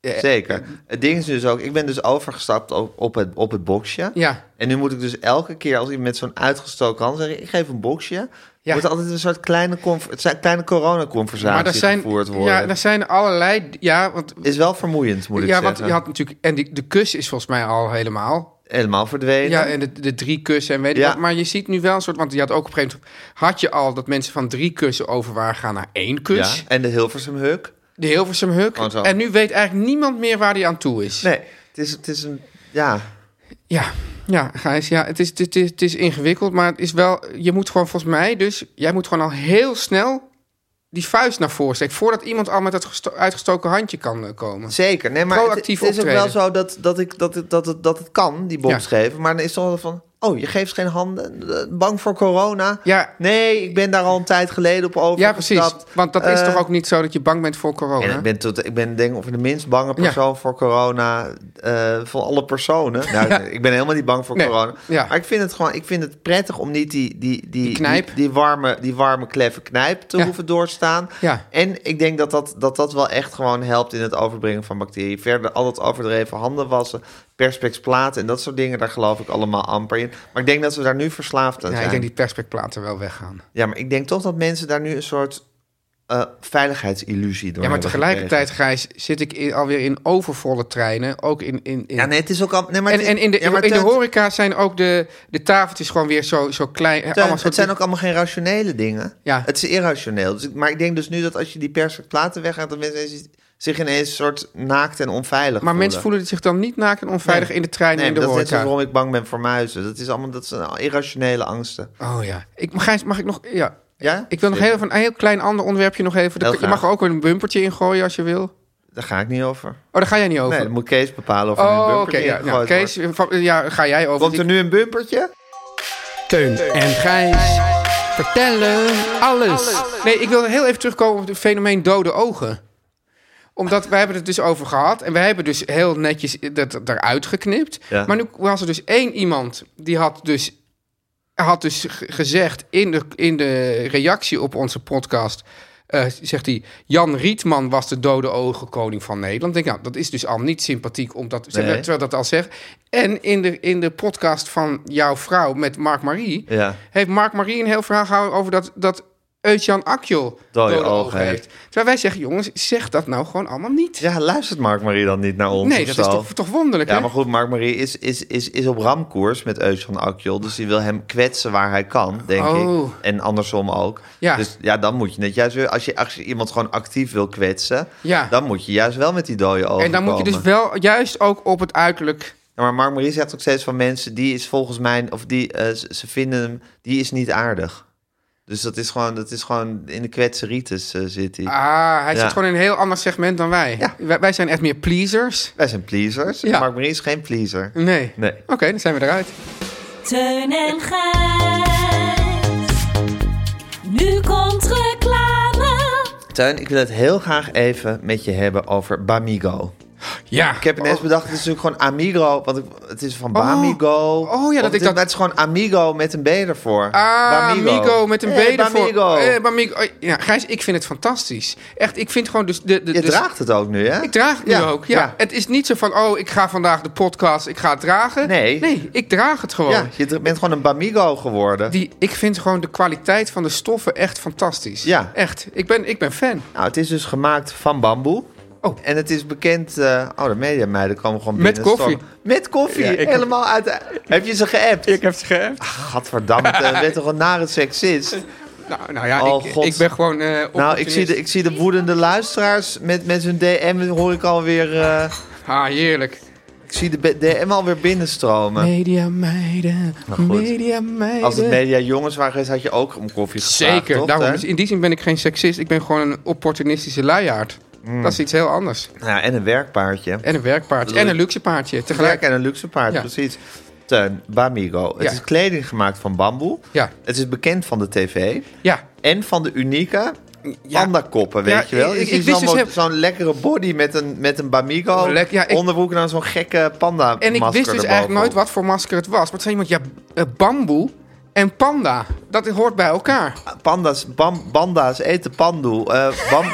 Speaker 3: eh,
Speaker 2: Zeker. Het ding is dus ook, ik ben dus overgestapt op, op, het, op het boxje.
Speaker 3: Ja.
Speaker 2: En nu moet ik dus elke keer als ik met zo'n uitgestoken hand zeg, ik geef een boxje.
Speaker 3: Ja.
Speaker 2: Wordt altijd een soort kleine, conf- het zijn kleine coronaconversatie
Speaker 3: Maar er zijn,
Speaker 2: gevoerd worden.
Speaker 3: ja, er zijn allerlei... Ja, want,
Speaker 2: Is wel vermoeiend, moet ik
Speaker 3: ja, want
Speaker 2: zeggen.
Speaker 3: je had natuurlijk... En die, de kus is volgens mij al helemaal...
Speaker 2: Helemaal verdwenen.
Speaker 3: Ja, en de, de drie kussen en weet ik
Speaker 2: Ja.
Speaker 3: wat. Maar je ziet nu wel een soort... Want je had ook op een gegeven moment... Had je al dat mensen van drie kussen over waren gaan naar één kus.
Speaker 2: Ja, en de Hilversum Huk.
Speaker 3: De Hilversum Huk.
Speaker 2: Gewoon zo.
Speaker 3: En nu weet eigenlijk niemand meer waar die aan toe is.
Speaker 2: Nee, het is, het is een... Ja,
Speaker 3: Ja, ja, Gijs, ja, het is, het, is, het is ingewikkeld, maar het is wel, je moet gewoon volgens mij dus, jij moet gewoon al heel snel die vuist naar voren steken, voordat iemand al met dat gesto- uitgestoken handje kan eh, komen.
Speaker 2: Zeker, nee, maar het,
Speaker 3: Proactief
Speaker 2: het is ook wel
Speaker 3: optreden.
Speaker 2: zo dat, dat, ik, dat, het- dat, het, dat het kan, die box
Speaker 3: Ja.
Speaker 2: geven. Maar dan is het altijd van, oh, je geeft geen handen, eh, bang voor corona.
Speaker 3: Ja.
Speaker 2: Nee, ik ben daar al een tijd geleden op over
Speaker 3: Ja, precies, want dat is
Speaker 2: Eh,
Speaker 3: toch ook niet zo dat je bang bent voor corona?
Speaker 2: En ik ben, tot, ik ben denk ik ongeveer de minst bange persoon voor corona eh, van alle personen. Nou,
Speaker 3: Ja.
Speaker 2: Ik ben helemaal niet bang voor
Speaker 3: Nee,
Speaker 2: corona.
Speaker 3: ja.
Speaker 2: Maar ik vind het gewoon, ik vind het prettig om niet die, die, die,
Speaker 3: knijp.
Speaker 2: die, die warme, die warme kleffe knijp te
Speaker 3: Ja.
Speaker 2: hoeven doorstaan.
Speaker 3: Ja.
Speaker 2: En ik denk dat dat, dat dat wel echt gewoon helpt in het overbrengen van bacteriën. Verder al dat overdreven handen wassen, perspex platen en dat soort dingen, daar geloof ik allemaal amper in. Maar ik denk dat we daar nu verslaafd aan
Speaker 3: ja,
Speaker 2: zijn.
Speaker 3: ik denk die perspectplaten wel weggaan.
Speaker 2: Ja, maar ik denk toch dat mensen daar nu een soort eh, veiligheidsillusie door
Speaker 3: Ja, maar
Speaker 2: hebben gekregen.
Speaker 3: tegelijkertijd, Gijs, zit ik in, alweer in overvolle treinen, ook in... in, in
Speaker 2: Ja, nee, het is ook al. Nee, maar
Speaker 3: En,
Speaker 2: het is-
Speaker 3: en in, de,
Speaker 2: ja, maar
Speaker 3: in de
Speaker 2: Teun,
Speaker 3: horeca zijn ook de, de tafeltjes gewoon weer zo, zo klein.
Speaker 2: Teun,
Speaker 3: allemaal zo
Speaker 2: het zijn ook allemaal geen rationele dingen.
Speaker 3: Ja.
Speaker 2: Het is irrationeel. Dus ik- maar ik denk dus nu dat als je die persen platen weggaat, dat mensen ineens- zich ineens een soort naakt en onveilig
Speaker 3: Maar mensen voelen zich dan niet naakt en onveilig in de trein en
Speaker 2: Nee,
Speaker 3: in de
Speaker 2: maar dat is net
Speaker 3: horeca.
Speaker 2: zoals waarom ik bang ben voor muizen. Dat is allemaal dat zijn irrationele angsten.
Speaker 3: Oh ja. Ik, Gijs, mag ik nog... Ja.
Speaker 2: Ja?
Speaker 3: Ik wil nog heel even een heel klein ander onderwerpje nog even.
Speaker 2: Heel
Speaker 3: je mag er
Speaker 2: graag.
Speaker 3: ook een bumpertje in gooien als je wil. Oh,
Speaker 2: Daar ga ik niet over.
Speaker 3: daar ga jij niet over.
Speaker 2: Nee, dan moet Kees bepalen of er nu een
Speaker 3: oh, oké.
Speaker 2: bumpertje
Speaker 3: ja,
Speaker 2: ingegooid
Speaker 3: nou, Kees,
Speaker 2: wordt.
Speaker 3: van- ja, ga jij over.
Speaker 2: Komt er nu een bumpertje?
Speaker 4: Teun en
Speaker 3: Gijs, vertellen alles. Nee, ik wil heel even terugkomen op het fenomeen dode ogen. Omdat wij hebben het dus over gehad. En wij hebben dus heel netjes dat eruit geknipt.
Speaker 2: Ja.
Speaker 3: Maar nu was er dus één iemand die had dus, had dus g- gezegd in de, in de reactie op onze podcast... eh, zegt hij, Jan Rietman was de dode ogenkoning van Nederland. Ik Denk, nou, dat is dus al niet sympathiek, omdat,
Speaker 2: Nee.
Speaker 3: terwijl dat al zegt. En in de, in de podcast van jouw vrouw met Mark Marie
Speaker 2: Ja.
Speaker 3: heeft Mark Marie een heel verhaal gehouden over dat, dat Eutjan Akjol
Speaker 2: Dode
Speaker 3: dode
Speaker 2: ogen
Speaker 3: ogen heeft. Terwijl wij zeggen, jongens, zeg dat nou gewoon allemaal niet.
Speaker 2: Ja, luistert Mark Marie dan niet naar ons?
Speaker 3: nee,
Speaker 2: of
Speaker 3: dat
Speaker 2: zo?
Speaker 3: is toch, toch wonderlijk,
Speaker 2: Ja,
Speaker 3: hè?
Speaker 2: maar goed, Mark Marie is, is, is, is op ramkoers met Eus van Akjol. Dus die wil hem kwetsen waar hij kan, denk
Speaker 3: Oh.
Speaker 2: ik. En andersom ook.
Speaker 3: Ja.
Speaker 2: Dus ja, dan moet je net juist weer... Als je, als je iemand gewoon actief wil kwetsen...
Speaker 3: Ja.
Speaker 2: dan moet je juist wel met die dode ogen
Speaker 3: en dan moet je dus
Speaker 2: komen.
Speaker 3: wel juist ook op het uiterlijk...
Speaker 2: Ja, maar Mark Marie zegt ook steeds van mensen... die is volgens mij... of die, eh, ze ze vinden hem... die is niet aardig. Dus dat is gewoon, dat is gewoon in de kwetseritis eh, zit hij.
Speaker 3: Ah, hij
Speaker 2: Ja.
Speaker 3: zit gewoon in een heel ander segment dan wij.
Speaker 2: Ja.
Speaker 3: Wij, wij zijn echt meer pleasers.
Speaker 2: Wij zijn pleasers.
Speaker 3: Ja. Mm.
Speaker 2: Mark Marie is geen pleaser.
Speaker 3: Nee.
Speaker 2: Nee.
Speaker 3: Oké, dan zijn we eruit.
Speaker 5: Teun en Gijs. Nu komt reclame.
Speaker 2: Tuin, ik wil het heel graag even met je hebben over Bamigo.
Speaker 3: Ja.
Speaker 2: Ik heb
Speaker 3: Oh.
Speaker 2: ineens bedacht, het is natuurlijk gewoon Amigo. Want ik- het is van Bamigo.
Speaker 3: Oh, ja,
Speaker 2: Of
Speaker 3: dat ik
Speaker 2: het is-
Speaker 3: dat-
Speaker 2: maar Het is gewoon Amigo met een B ervoor.
Speaker 3: Ah,
Speaker 2: Bamigo.
Speaker 3: Migo met een
Speaker 2: Eh,
Speaker 3: B ervoor.
Speaker 2: Bamigo.
Speaker 3: Eh, Bamigo. Oh, Ja, Gijs, ik vind het fantastisch. Echt, ik vind gewoon... Dus de, de,
Speaker 2: Je
Speaker 3: de-
Speaker 2: draagt het ook nu, hè?
Speaker 3: Ik draag het nu
Speaker 2: Ja,
Speaker 3: ook, ja.
Speaker 2: ja.
Speaker 3: Het is niet zo van, oh, ik ga vandaag de podcast, ik ga het dragen.
Speaker 2: Nee.
Speaker 3: Nee, ik draag het gewoon.
Speaker 2: Ja, je dra- bent gewoon een Bamigo geworden.
Speaker 3: Die, ik vind gewoon de kwaliteit van de stoffen echt fantastisch.
Speaker 2: Ja.
Speaker 3: Echt. Ik ben, ik ben fan.
Speaker 2: Nou, het is dus gemaakt van bamboe.
Speaker 3: Oh.
Speaker 2: En het is bekend... eh, oh, de mediameiden komen gewoon
Speaker 3: Met
Speaker 2: binnen.
Speaker 3: koffie.
Speaker 2: stormen. Met koffie. Helemaal uit... de- Heb je ze geappt?
Speaker 3: heb ze geappt.
Speaker 2: Gadverdamme,
Speaker 3: (laughs)
Speaker 2: eh, ben toch een nare seksist.
Speaker 3: Nou, nou ja,
Speaker 2: Oh,
Speaker 3: ik,
Speaker 2: God.
Speaker 3: ik ben gewoon eh,
Speaker 2: Nou, ik zie, de, ik zie de woedende luisteraars met, met hun DM hoor ik alweer... eh,
Speaker 3: opportunist. Ah, heerlijk.
Speaker 2: ik zie de be- DM alweer binnenstromen.
Speaker 3: Media meiden,
Speaker 2: Nou goed.
Speaker 3: media meiden.
Speaker 2: Als het media jongens waren geweest, had je ook om koffie gevraagd,
Speaker 3: Zeker,
Speaker 2: toch,
Speaker 3: daarom.
Speaker 2: hè?
Speaker 3: Dus in die zin ben ik geen seksist. Ik ben gewoon een opportunistische luiaard.
Speaker 2: Hmm.
Speaker 3: Dat is iets heel anders.
Speaker 2: Nou ja, en een werkpaardje.
Speaker 3: En een werkpaardje. En een luxe paardje
Speaker 2: Tegelijk
Speaker 3: tegelijk.
Speaker 2: en een luxe paard,
Speaker 3: Ja.
Speaker 2: precies. Teun, Bamigo. Het
Speaker 3: Ja.
Speaker 2: is kleding gemaakt van bamboe.
Speaker 3: Ja.
Speaker 2: Het is bekend van de tv.
Speaker 3: Ja.
Speaker 2: En van de unieke pandakoppen, weet
Speaker 3: Ja,
Speaker 2: je wel.
Speaker 3: ik-
Speaker 2: Ik,
Speaker 3: ik wist dus
Speaker 2: zo'n,
Speaker 3: heel-
Speaker 2: zo'n lekkere body met een, met een Bamigo.
Speaker 3: Lek- ja, ik-
Speaker 2: Onderbroek en dan zo'n gekke panda
Speaker 3: En ik wist dus eigenlijk nooit wat voor masker het was. Maar toen zei iemand, ja, eh, bamboe en panda. Dat hoort bij elkaar.
Speaker 2: Panda's, bam, banda's eten pandoe. Eh,
Speaker 3: (laughs)
Speaker 2: bam,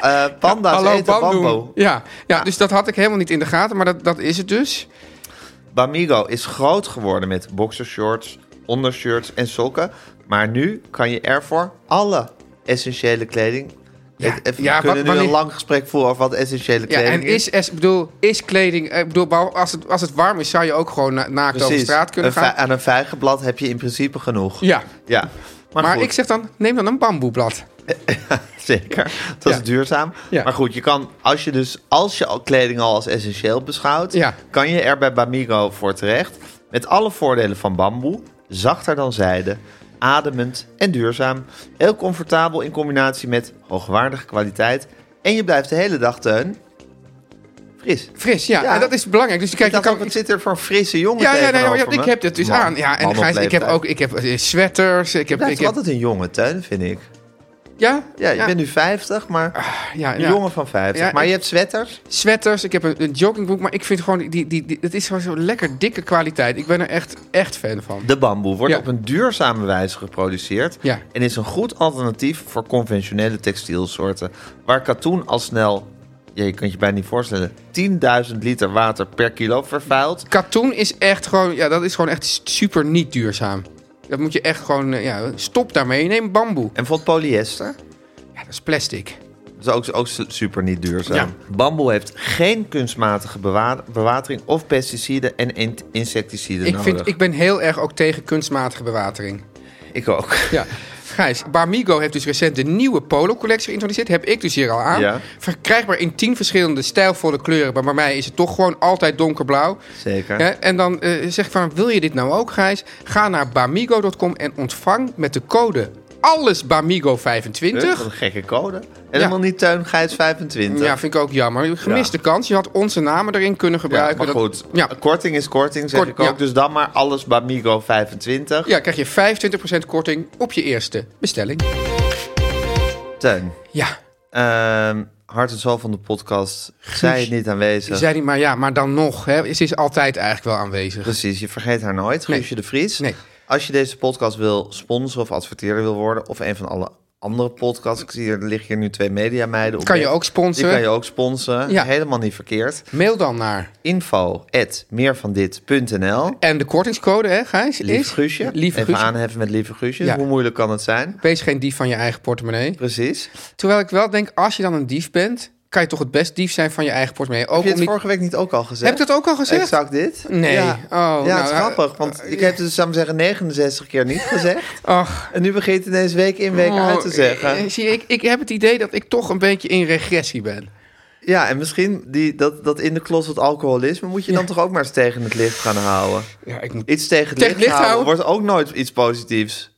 Speaker 2: eh, panda's
Speaker 3: Hallo,
Speaker 2: eten
Speaker 3: bamboe.
Speaker 2: bamboe.
Speaker 3: Ja, ja, dus dat had ik helemaal niet in de gaten. Maar dat, dat is het dus.
Speaker 2: Bamigo is groot geworden met boxershorts, ondershirts en sokken. Maar nu kan je ervoor alle essentiële kleding...
Speaker 3: Ja,
Speaker 2: Het- even-
Speaker 3: ja,
Speaker 2: we kunnen
Speaker 3: wat-
Speaker 2: nu
Speaker 3: wanneer-
Speaker 2: een lang gesprek voeren over wat essentiële
Speaker 3: Ja,
Speaker 2: kleding
Speaker 3: en is, is, bedoel, is kleding... eh, Ik bedoel, behalve als het, als het warm is, zou je ook gewoon na- naakt over
Speaker 2: Precies.
Speaker 3: straat kunnen
Speaker 2: Een
Speaker 3: gaan.
Speaker 2: vij- aan een vijgenblad heb je in principe genoeg.
Speaker 3: Ja,
Speaker 2: Ja. Maar,
Speaker 3: maar
Speaker 2: goed,
Speaker 3: ik zeg dan, neem dan een bamboeblad.
Speaker 2: zeker. Dat
Speaker 3: Ja.
Speaker 2: is duurzaam.
Speaker 3: Ja.
Speaker 2: Maar goed, je kan, als je dus, als je al kleding al als essentieel beschouwt,
Speaker 3: Ja.
Speaker 2: kan je er bij Bamigo voor terecht. Met alle voordelen van bamboe, zachter dan zijde, ademend en duurzaam. Heel comfortabel in combinatie met hoogwaardige kwaliteit. En je blijft de hele dag teun. Fris.
Speaker 3: Fris, ja.
Speaker 2: Ja.
Speaker 3: En dat is belangrijk. Dus kijk,
Speaker 2: ik
Speaker 3: je
Speaker 2: dacht
Speaker 3: kan...
Speaker 2: ook, wat zit er voor een frisse jongen
Speaker 3: ja, ja, nee,
Speaker 2: tegenover
Speaker 3: ja,
Speaker 2: me?
Speaker 3: ik heb dit dus
Speaker 2: Man,
Speaker 3: aan. Ja,
Speaker 2: man
Speaker 3: en
Speaker 2: op
Speaker 3: Gijs, ik heb
Speaker 2: leeftijd.
Speaker 3: ook ik heb eh, sweaters. Ik
Speaker 2: Je
Speaker 3: heb,
Speaker 2: blijft
Speaker 3: ik heb,
Speaker 2: altijd een jongen, Teun, vind ik.
Speaker 3: ja?
Speaker 2: Ja, je bent nu 50, maar
Speaker 3: ja,
Speaker 2: een
Speaker 3: ja.
Speaker 2: jongen van 50.
Speaker 3: Ja,
Speaker 2: maar
Speaker 3: ik-
Speaker 2: je hebt sweaters.
Speaker 3: sweaters, ik heb een, een joggingbroek, maar ik vind gewoon die, die, die, het is gewoon zo lekker dikke kwaliteit. Ik ben er echt, echt fan van.
Speaker 2: De bamboe wordt
Speaker 3: Ja.
Speaker 2: op een duurzame wijze geproduceerd
Speaker 3: Ja.
Speaker 2: en is een goed alternatief voor conventionele textielsoorten, waar katoen al snel, ja, je kunt je bijna niet voorstellen, 10.000 liter water per kilo vervuilt.
Speaker 3: Katoen is echt gewoon, ja, dat is gewoon echt super niet duurzaam. Dat moet je echt gewoon, eh, ja, stop daarmee. Neem bamboe.
Speaker 2: En voor polyester,
Speaker 3: Ja, dat is plastic.
Speaker 2: dat is ook, ook su- super niet duurzaam.
Speaker 3: Ja.
Speaker 2: Bamboe heeft geen kunstmatige bewa- bewatering of pesticiden en in- insecticiden
Speaker 3: Ik,
Speaker 2: nodig.
Speaker 3: vind, ik ben heel erg ook tegen kunstmatige bewatering.
Speaker 2: Ik ook.
Speaker 3: Ja. Gijs, Barmigo heeft dus recent de nieuwe polo-collectie geïntroduceerd. Heb ik dus hier al aan.
Speaker 2: Ja.
Speaker 3: Verkrijgbaar in tien verschillende stijlvolle kleuren. Maar bij mij is het toch gewoon altijd donkerblauw.
Speaker 2: Zeker.
Speaker 3: Hè, en dan eh, zeg ik van, wil je dit nou ook, Gijs? Ga naar bamigo.com en ontvang met de code AllesBamigo25.
Speaker 2: Huh? Wat een gekke code. Helemaal
Speaker 3: Ja.
Speaker 2: niet Teun Gijs 25.
Speaker 3: Ja, vind ik ook jammer. Gemiste kans. Je had onze namen erin kunnen gebruiken.
Speaker 2: maar
Speaker 3: Dat-
Speaker 2: goed,
Speaker 3: Ja.
Speaker 2: korting is korting, zeg
Speaker 3: Kort-
Speaker 2: ik ook.
Speaker 3: ja.
Speaker 2: Dus dan maar alles Bamigo 25.
Speaker 3: ja, krijg je 25% korting op je eerste bestelling.
Speaker 2: Teun,
Speaker 3: Ja,
Speaker 2: ehm, hart en zo van de podcast. Zij is niet aanwezig.
Speaker 3: zei hij, maar ja, maar dan nog. Hè, ze is altijd eigenlijk wel aanwezig.
Speaker 2: Precies, je vergeet haar nooit.
Speaker 3: Nee.
Speaker 2: Guusje de Vries.
Speaker 3: Nee.
Speaker 2: Als je deze podcast wil sponsoren of adverteerder wil worden... of een van alle andere podcasts... Ik zie hier, er liggen hier nu twee mediameiden op.
Speaker 3: Kan je
Speaker 2: bed.
Speaker 3: ook sponsoren.
Speaker 2: Die kan je ook sponsoren.
Speaker 3: Ja.
Speaker 2: Helemaal niet verkeerd.
Speaker 3: Mail dan naar.
Speaker 2: Info at meervandit.nl
Speaker 3: En de kortingscode, hè, Gijs? is
Speaker 2: Lieve Guusje.
Speaker 3: Lieve
Speaker 2: Even
Speaker 3: Guusje.
Speaker 2: aanheffen met Lieve Guusje.
Speaker 3: Ja.
Speaker 2: Hoe moeilijk kan het zijn?
Speaker 3: Wees geen dief van je eigen portemonnee.
Speaker 2: Precies.
Speaker 3: Terwijl ik wel denk, als je dan een dief bent, kan je toch het best dief zijn van je eigen portemonnee. Ook
Speaker 2: Heb je het
Speaker 3: om niet-
Speaker 2: vorige week niet ook al gezegd?
Speaker 3: Heb ik dat ook al gezegd?
Speaker 2: Exact dit?
Speaker 3: Nee.
Speaker 2: Ja,
Speaker 3: Oh,
Speaker 2: ja
Speaker 3: nou,
Speaker 2: het is
Speaker 3: eh,
Speaker 2: grappig. Want ik heb het dus, zou ik zeggen, 69 keer niet gezegd.
Speaker 3: (laughs) Ach.
Speaker 2: En nu begint het ineens week in, week uit te
Speaker 3: oh,
Speaker 2: zeggen.
Speaker 3: eh, Zie, je, ik, ik heb het idee dat ik toch een beetje in regressie ben.
Speaker 2: Ja, en misschien die, dat, dat in de klos wat alcoholisme... moet je dan toch ook maar eens tegen het licht gaan houden.
Speaker 3: Ja, ik moet...
Speaker 2: Iets tegen het
Speaker 3: Tegen
Speaker 2: licht,
Speaker 3: het licht Mm,
Speaker 2: houden wordt ook nooit iets positiefs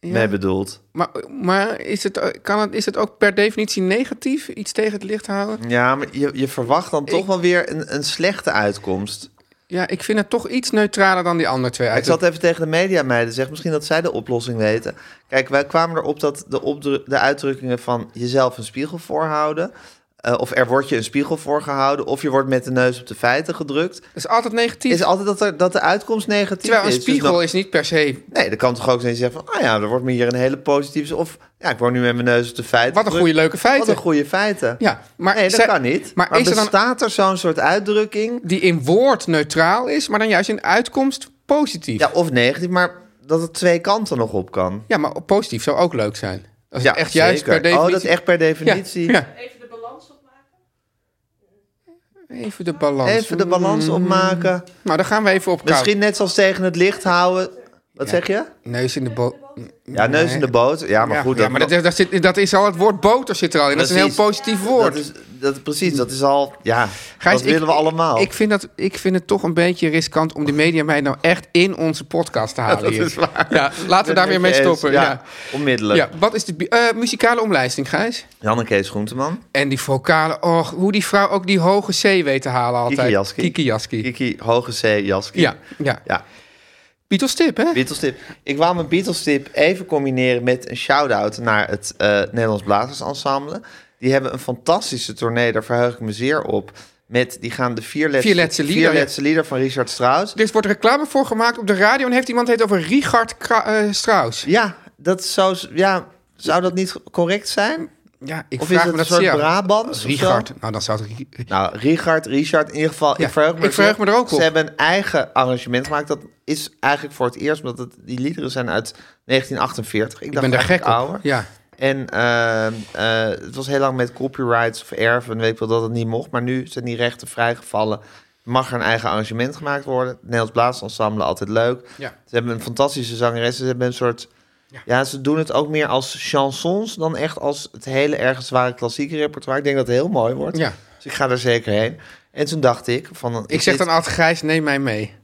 Speaker 2: mee bedoeld.
Speaker 3: Maar, maar is, het, kan het, is het ook per definitie negatief? Iets tegen het licht houden?
Speaker 2: Ja, maar je, je verwacht dan toch
Speaker 3: Ik-
Speaker 2: wel weer een, een slechte uitkomst.
Speaker 3: Ja, ik vind het toch iets neutraler dan die andere twee.
Speaker 2: Ik
Speaker 3: uit.
Speaker 2: zat even tegen de mediameiden zeggen, misschien dat zij de oplossing weten. Kijk, wij kwamen erop dat de, opdru- de uitdrukkingen van jezelf een spiegel voorhouden... eh, eh, of er wordt je een spiegel voor gehouden, of je wordt met de neus op de feiten gedrukt.
Speaker 3: is altijd negatief.
Speaker 2: Is altijd dat, er, dat de uitkomst negatief
Speaker 3: Terwijl een
Speaker 2: is.
Speaker 3: spiegel
Speaker 2: dus dan-
Speaker 3: is niet per se...
Speaker 2: Nee, dan kan toch ook eens zeggen van, ah ja, er wordt me hier een hele positieve... Of, ja, ik word nu met mijn neus op de feiten
Speaker 3: Wat een
Speaker 2: gedrukt.
Speaker 3: goede leuke feiten.
Speaker 2: Wat een goede feiten.
Speaker 3: Ja, maar
Speaker 2: nee, dat
Speaker 3: ze-
Speaker 2: kan niet.
Speaker 3: maar
Speaker 2: Maar,
Speaker 3: is er dan-
Speaker 2: bestaat er zo'n soort uitdrukking?
Speaker 3: Die in woord neutraal is, maar dan juist in uitkomst positief.
Speaker 2: Ja, of negatief, maar dat het twee kanten nog op kan.
Speaker 3: Ja, maar positief zou ook leuk zijn. Als
Speaker 2: Ja,
Speaker 3: het echt juist
Speaker 2: zeker.
Speaker 3: per definitie...
Speaker 2: Oh, dat is echt per definitie.
Speaker 3: Ja. Even de balans opmaken.
Speaker 2: Even de balans opmaken.
Speaker 3: Nou, dan gaan we even op koud.
Speaker 2: Misschien net zoals tegen het licht houden. Wat zeg je?
Speaker 3: Neus in de boot.
Speaker 2: Ja, neus in de boot. Ja, maar goed.
Speaker 3: ja, maar dat, dat, zit, dat is al het woord boter zit er al in. Dat is een
Speaker 2: Precies.
Speaker 3: heel positief woord.
Speaker 2: dat is, dat, precies, dat is al... Ja,
Speaker 3: Gijs,
Speaker 2: dat willen we allemaal.
Speaker 3: Ik vind, dat, ik vind het toch een beetje riskant om de media mij nou echt in onze
Speaker 2: (laughs)
Speaker 3: podcast te halen.
Speaker 2: dat
Speaker 3: hier.
Speaker 2: is waar.
Speaker 3: Ja, laten we
Speaker 2: Ben
Speaker 3: daar
Speaker 2: ik
Speaker 3: weer mee
Speaker 2: eens.
Speaker 3: stoppen.
Speaker 2: Ja,
Speaker 3: Ja. Ja.
Speaker 2: onmiddellijk.
Speaker 3: wat is de bi- eh, muzikale omlijsting, Gijs?
Speaker 2: Jan Kees Groenteman.
Speaker 3: En die vocale, oh, hoe die vrouw ook die hoge C weet te halen altijd.
Speaker 2: Kiki Jaski.
Speaker 3: Kiki Jaski.
Speaker 2: Kiki Hoge C. Jaski.
Speaker 3: Ja, ja.
Speaker 2: Ja,
Speaker 3: Beatles tip, hè?
Speaker 2: Beatles tip. Ik wou mijn Beatles tip even combineren met een shout-out naar het eh, Nederlands Blazers Ensemble. Die hebben een fantastische tournee, daar verheug ik me zeer op. Met, die gaan de vier letste,
Speaker 3: Vier Letse Lieder, ja.
Speaker 2: lieder van Richard Strauss.
Speaker 3: Er wordt reclame voor gemaakt op de radio en heeft iemand het over Richard Kra- eh, Strauss.
Speaker 2: Ja, dat zou, ja, zou dat niet correct zijn?
Speaker 3: Ja, ik
Speaker 2: Of is
Speaker 3: vraag
Speaker 2: het
Speaker 3: me
Speaker 2: een
Speaker 3: dat
Speaker 2: soort
Speaker 3: zeer.
Speaker 2: Brabants? of zo?
Speaker 3: Richard, nou dan zou het... Ri-
Speaker 2: Nou, Richard, Richard, in ieder geval.
Speaker 3: Ja,
Speaker 2: ik verheug, me,
Speaker 3: ik verheug me er ook
Speaker 2: Ze
Speaker 3: op.
Speaker 2: hebben een eigen arrangement gemaakt. Dat is eigenlijk voor het eerst, omdat het, die liederen zijn uit 1948. Ik,
Speaker 3: Ik
Speaker 2: dacht
Speaker 3: ben daar
Speaker 2: eigenlijk
Speaker 3: gek op.
Speaker 2: ouder.
Speaker 3: Ja.
Speaker 2: En eh, eh, het was heel lang met copyrights of erven. Weet ik wel dat het niet mocht. Maar nu zijn die rechten vrijgevallen. Mag er een eigen arrangement gemaakt worden. Het Nederlands Blaasensemble, altijd leuk.
Speaker 3: Ja.
Speaker 2: Ze hebben een fantastische zangeres. Ze hebben een soort... Ja. ze doen het ook meer als chansons dan echt als het hele erg zware klassieke repertoire. Ik denk dat het heel mooi wordt.
Speaker 3: Ja.
Speaker 2: Dus ik ga daar zeker heen. En toen dacht ik van...
Speaker 3: Ik zeg
Speaker 2: dit
Speaker 3: dan altijd, Gijs, neem mij mee.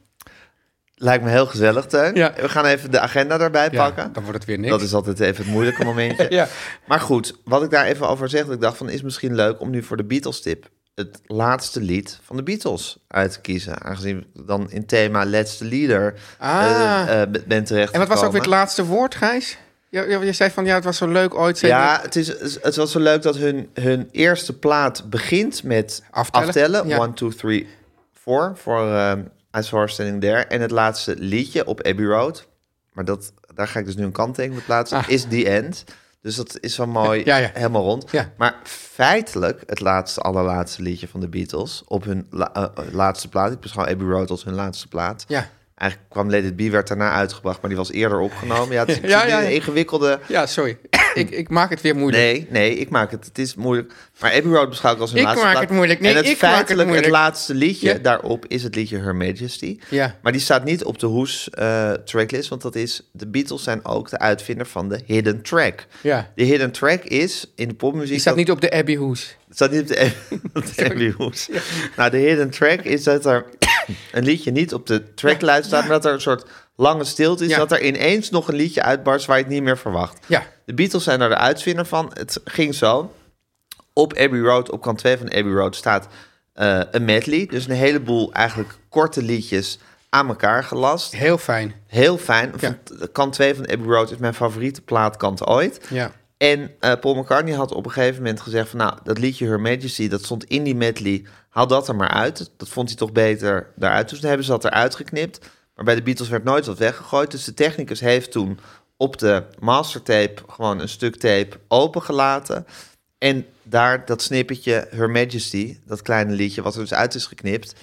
Speaker 2: Lijkt me heel gezellig, Teun.
Speaker 3: Ja.
Speaker 2: We gaan even de agenda daarbij
Speaker 3: Ja,
Speaker 2: pakken.
Speaker 3: dan wordt het weer niks.
Speaker 2: Dat is altijd even het moeilijke momentje.
Speaker 3: (laughs) Ja.
Speaker 2: Maar goed, wat ik daar even over zeg, dat ik dacht van is misschien leuk om nu voor de Beatles tip het laatste lied van de Beatles uit te kiezen. Aangezien ik dan in thema Let's the Leader
Speaker 3: Ah.
Speaker 2: eh, eh, b- ben terecht.
Speaker 3: En wat was ook weer het
Speaker 2: gekomen.
Speaker 3: laatste woord, Gijs? Je, je, je zei van, ja, het was zo leuk ooit. zei je-
Speaker 2: Ja, het, is, het was zo leuk dat hun, hun eerste plaat begint met
Speaker 3: Aftellen,
Speaker 2: aftellen.
Speaker 3: ja.
Speaker 2: 1, 2, 3, 4 voor ehm I Saw Her Standing There. En het laatste liedje op Abbey Road. Maar dat, daar ga ik dus nu een kanttekening op plaatsen.
Speaker 3: Ah.
Speaker 2: Is The End. Dus dat is wel mooi
Speaker 3: Ja, ja.
Speaker 2: helemaal rond.
Speaker 3: Ja.
Speaker 2: Maar feitelijk het laatste, allerlaatste liedje van de Beatles... op hun la- eh, laatste plaat. Ik beschouw Abbey Road als hun laatste plaat.
Speaker 3: Ja.
Speaker 2: Eigenlijk kwam Let It Be, werd daarna uitgebracht... maar die was eerder opgenomen. Ja, het is ik
Speaker 3: (laughs) Ja,
Speaker 2: zit in
Speaker 3: ja, ja.
Speaker 2: een ingewikkelde...
Speaker 3: Ja, sorry. ik, ik maak het weer moeilijk.
Speaker 2: Nee, nee, ik maak het. Het is moeilijk. Maar Abbey Road beschouw ik als een
Speaker 3: Ik
Speaker 2: laatste
Speaker 3: maak
Speaker 2: plaat.
Speaker 3: het moeilijk. Nee,
Speaker 2: en het
Speaker 3: ik maak het
Speaker 2: feitelijk
Speaker 3: moeilijk.
Speaker 2: laatste liedje
Speaker 3: Ja.
Speaker 2: daarop is het liedje Her Majesty.
Speaker 3: Ja.
Speaker 2: Maar die staat niet op de Hoes eh, tracklist, want dat is... De Beatles zijn ook de uitvinder van de hidden track.
Speaker 3: Ja.
Speaker 2: De hidden track is in de popmuziek...
Speaker 3: Die staat
Speaker 2: dat-
Speaker 3: niet op de Abbey Hoes.
Speaker 2: het staat niet op de, op de
Speaker 3: (laughs)
Speaker 2: Abbey Hoes. Nou, de hidden track is dat er (coughs) een liedje niet op de tracklijst staat... maar dat er een soort lange stilte is...
Speaker 3: Ja.
Speaker 2: dat er ineens nog een liedje uitbarst waar je het niet meer verwacht.
Speaker 3: Ja.
Speaker 2: De Beatles zijn daar de uitvinder van. Het ging zo. Op Abbey Road, op kant 2 van Abbey Road, staat eh, een medley. Dus een heleboel eigenlijk korte liedjes aan elkaar gelast.
Speaker 3: Heel fijn.
Speaker 2: Heel fijn.
Speaker 3: Ja.
Speaker 2: Van- Kant 2 van Abbey Road is mijn favoriete plaatkant ooit.
Speaker 3: Ja.
Speaker 2: En eh, Paul McCartney had op een gegeven moment gezegd van... nou, dat liedje Her Majesty, dat stond in die medley. Haal dat er maar uit. Dat vond hij toch beter daaruit. Dus toen hebben ze dat eruit geknipt. Maar bij de Beatles werd nooit wat weggegooid. Dus de technicus heeft toen op de mastertape... gewoon een stuk tape opengelaten. En daar dat snippetje Her Majesty, dat kleine liedje... wat er dus uit is geknipt,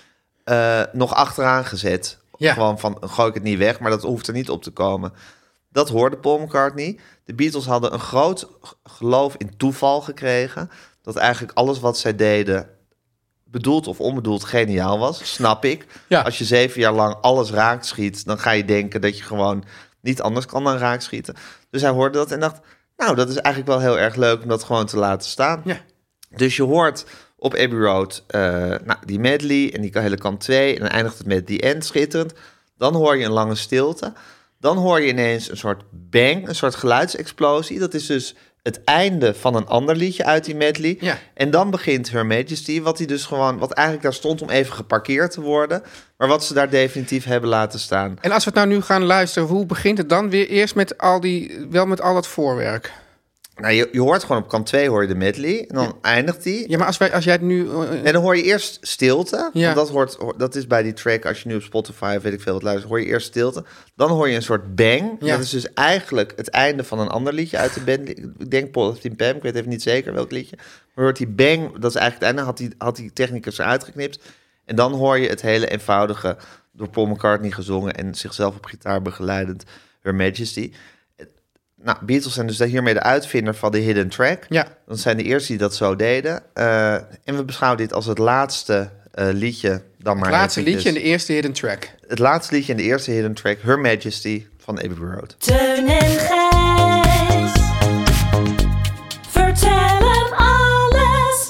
Speaker 2: eh, nog achteraan gezet.
Speaker 3: Ja.
Speaker 2: Gewoon van, gooi ik het niet weg, maar dat hoeft er niet op te komen. Dat hoorde Paul McCartney. De Beatles hadden een groot g- geloof in toeval gekregen. Dat eigenlijk alles wat zij deden, bedoeld of onbedoeld, geniaal was. Snap ik.
Speaker 3: Ja.
Speaker 2: Als je zeven jaar lang alles raakt schiet, dan ga je denken dat je gewoon niet anders kan dan raak schieten. Dus hij hoorde dat en dacht, nou, dat is eigenlijk wel heel erg leuk om dat gewoon te laten staan.
Speaker 3: Ja.
Speaker 2: Dus je hoort op Abbey Road eh, nou, die medley en die hele kant 2. En dan eindigt het met die end, schitterend. Dan hoor je een lange stilte. Dan hoor je ineens een soort bang, een soort geluidsexplosie. Dat is dus het einde van een ander liedje uit die medley.
Speaker 3: Ja.
Speaker 2: En dan begint Her Majesty, wat, die dus gewoon, wat eigenlijk daar stond om even geparkeerd te worden. Maar wat ze daar definitief hebben laten staan.
Speaker 3: En als we het nou nu gaan luisteren, hoe begint het dan weer? Eerst met al die, wel met al dat voorwerk.
Speaker 2: Nou, je, je hoort gewoon op kant 2 hoor je de medley. En dan eindigt die.
Speaker 3: Ja, maar als, wij, als jij het nu... eh, eh,
Speaker 2: En dan hoor je eerst stilte.
Speaker 3: Ja.
Speaker 2: Want dat, hoort, hoor- dat is bij die track, als je nu op Spotify of weet ik veel wat luistert, hoor je eerst stilte. Dan hoor je een soort bang.
Speaker 3: Ja.
Speaker 2: Dat is dus eigenlijk het einde van een ander liedje uit de band. Ik denk Paul of Tim Pam, ik weet even niet zeker welk liedje. Maar hoort die bang, dat is eigenlijk het einde, had die, had die technicus eruit geknipt. En dan hoor je het hele eenvoudige, door Paul McCartney gezongen en zichzelf op gitaar begeleidend, Her Majesty. Nou, Beatles zijn dus hiermee de uitvinder van de hidden track.
Speaker 3: Ja.
Speaker 2: Dan zijn de eerste die dat zo deden. Eh, en we beschouwen dit als het laatste eh, liedje dan maar.
Speaker 3: het laatste
Speaker 2: eventjes.
Speaker 3: liedje en de e- eerste hidden track.
Speaker 2: Het laatste liedje en de eerste hidden track, Her Majesty van Abbey Road.
Speaker 5: Teun en Gijs. Vertel hem alles.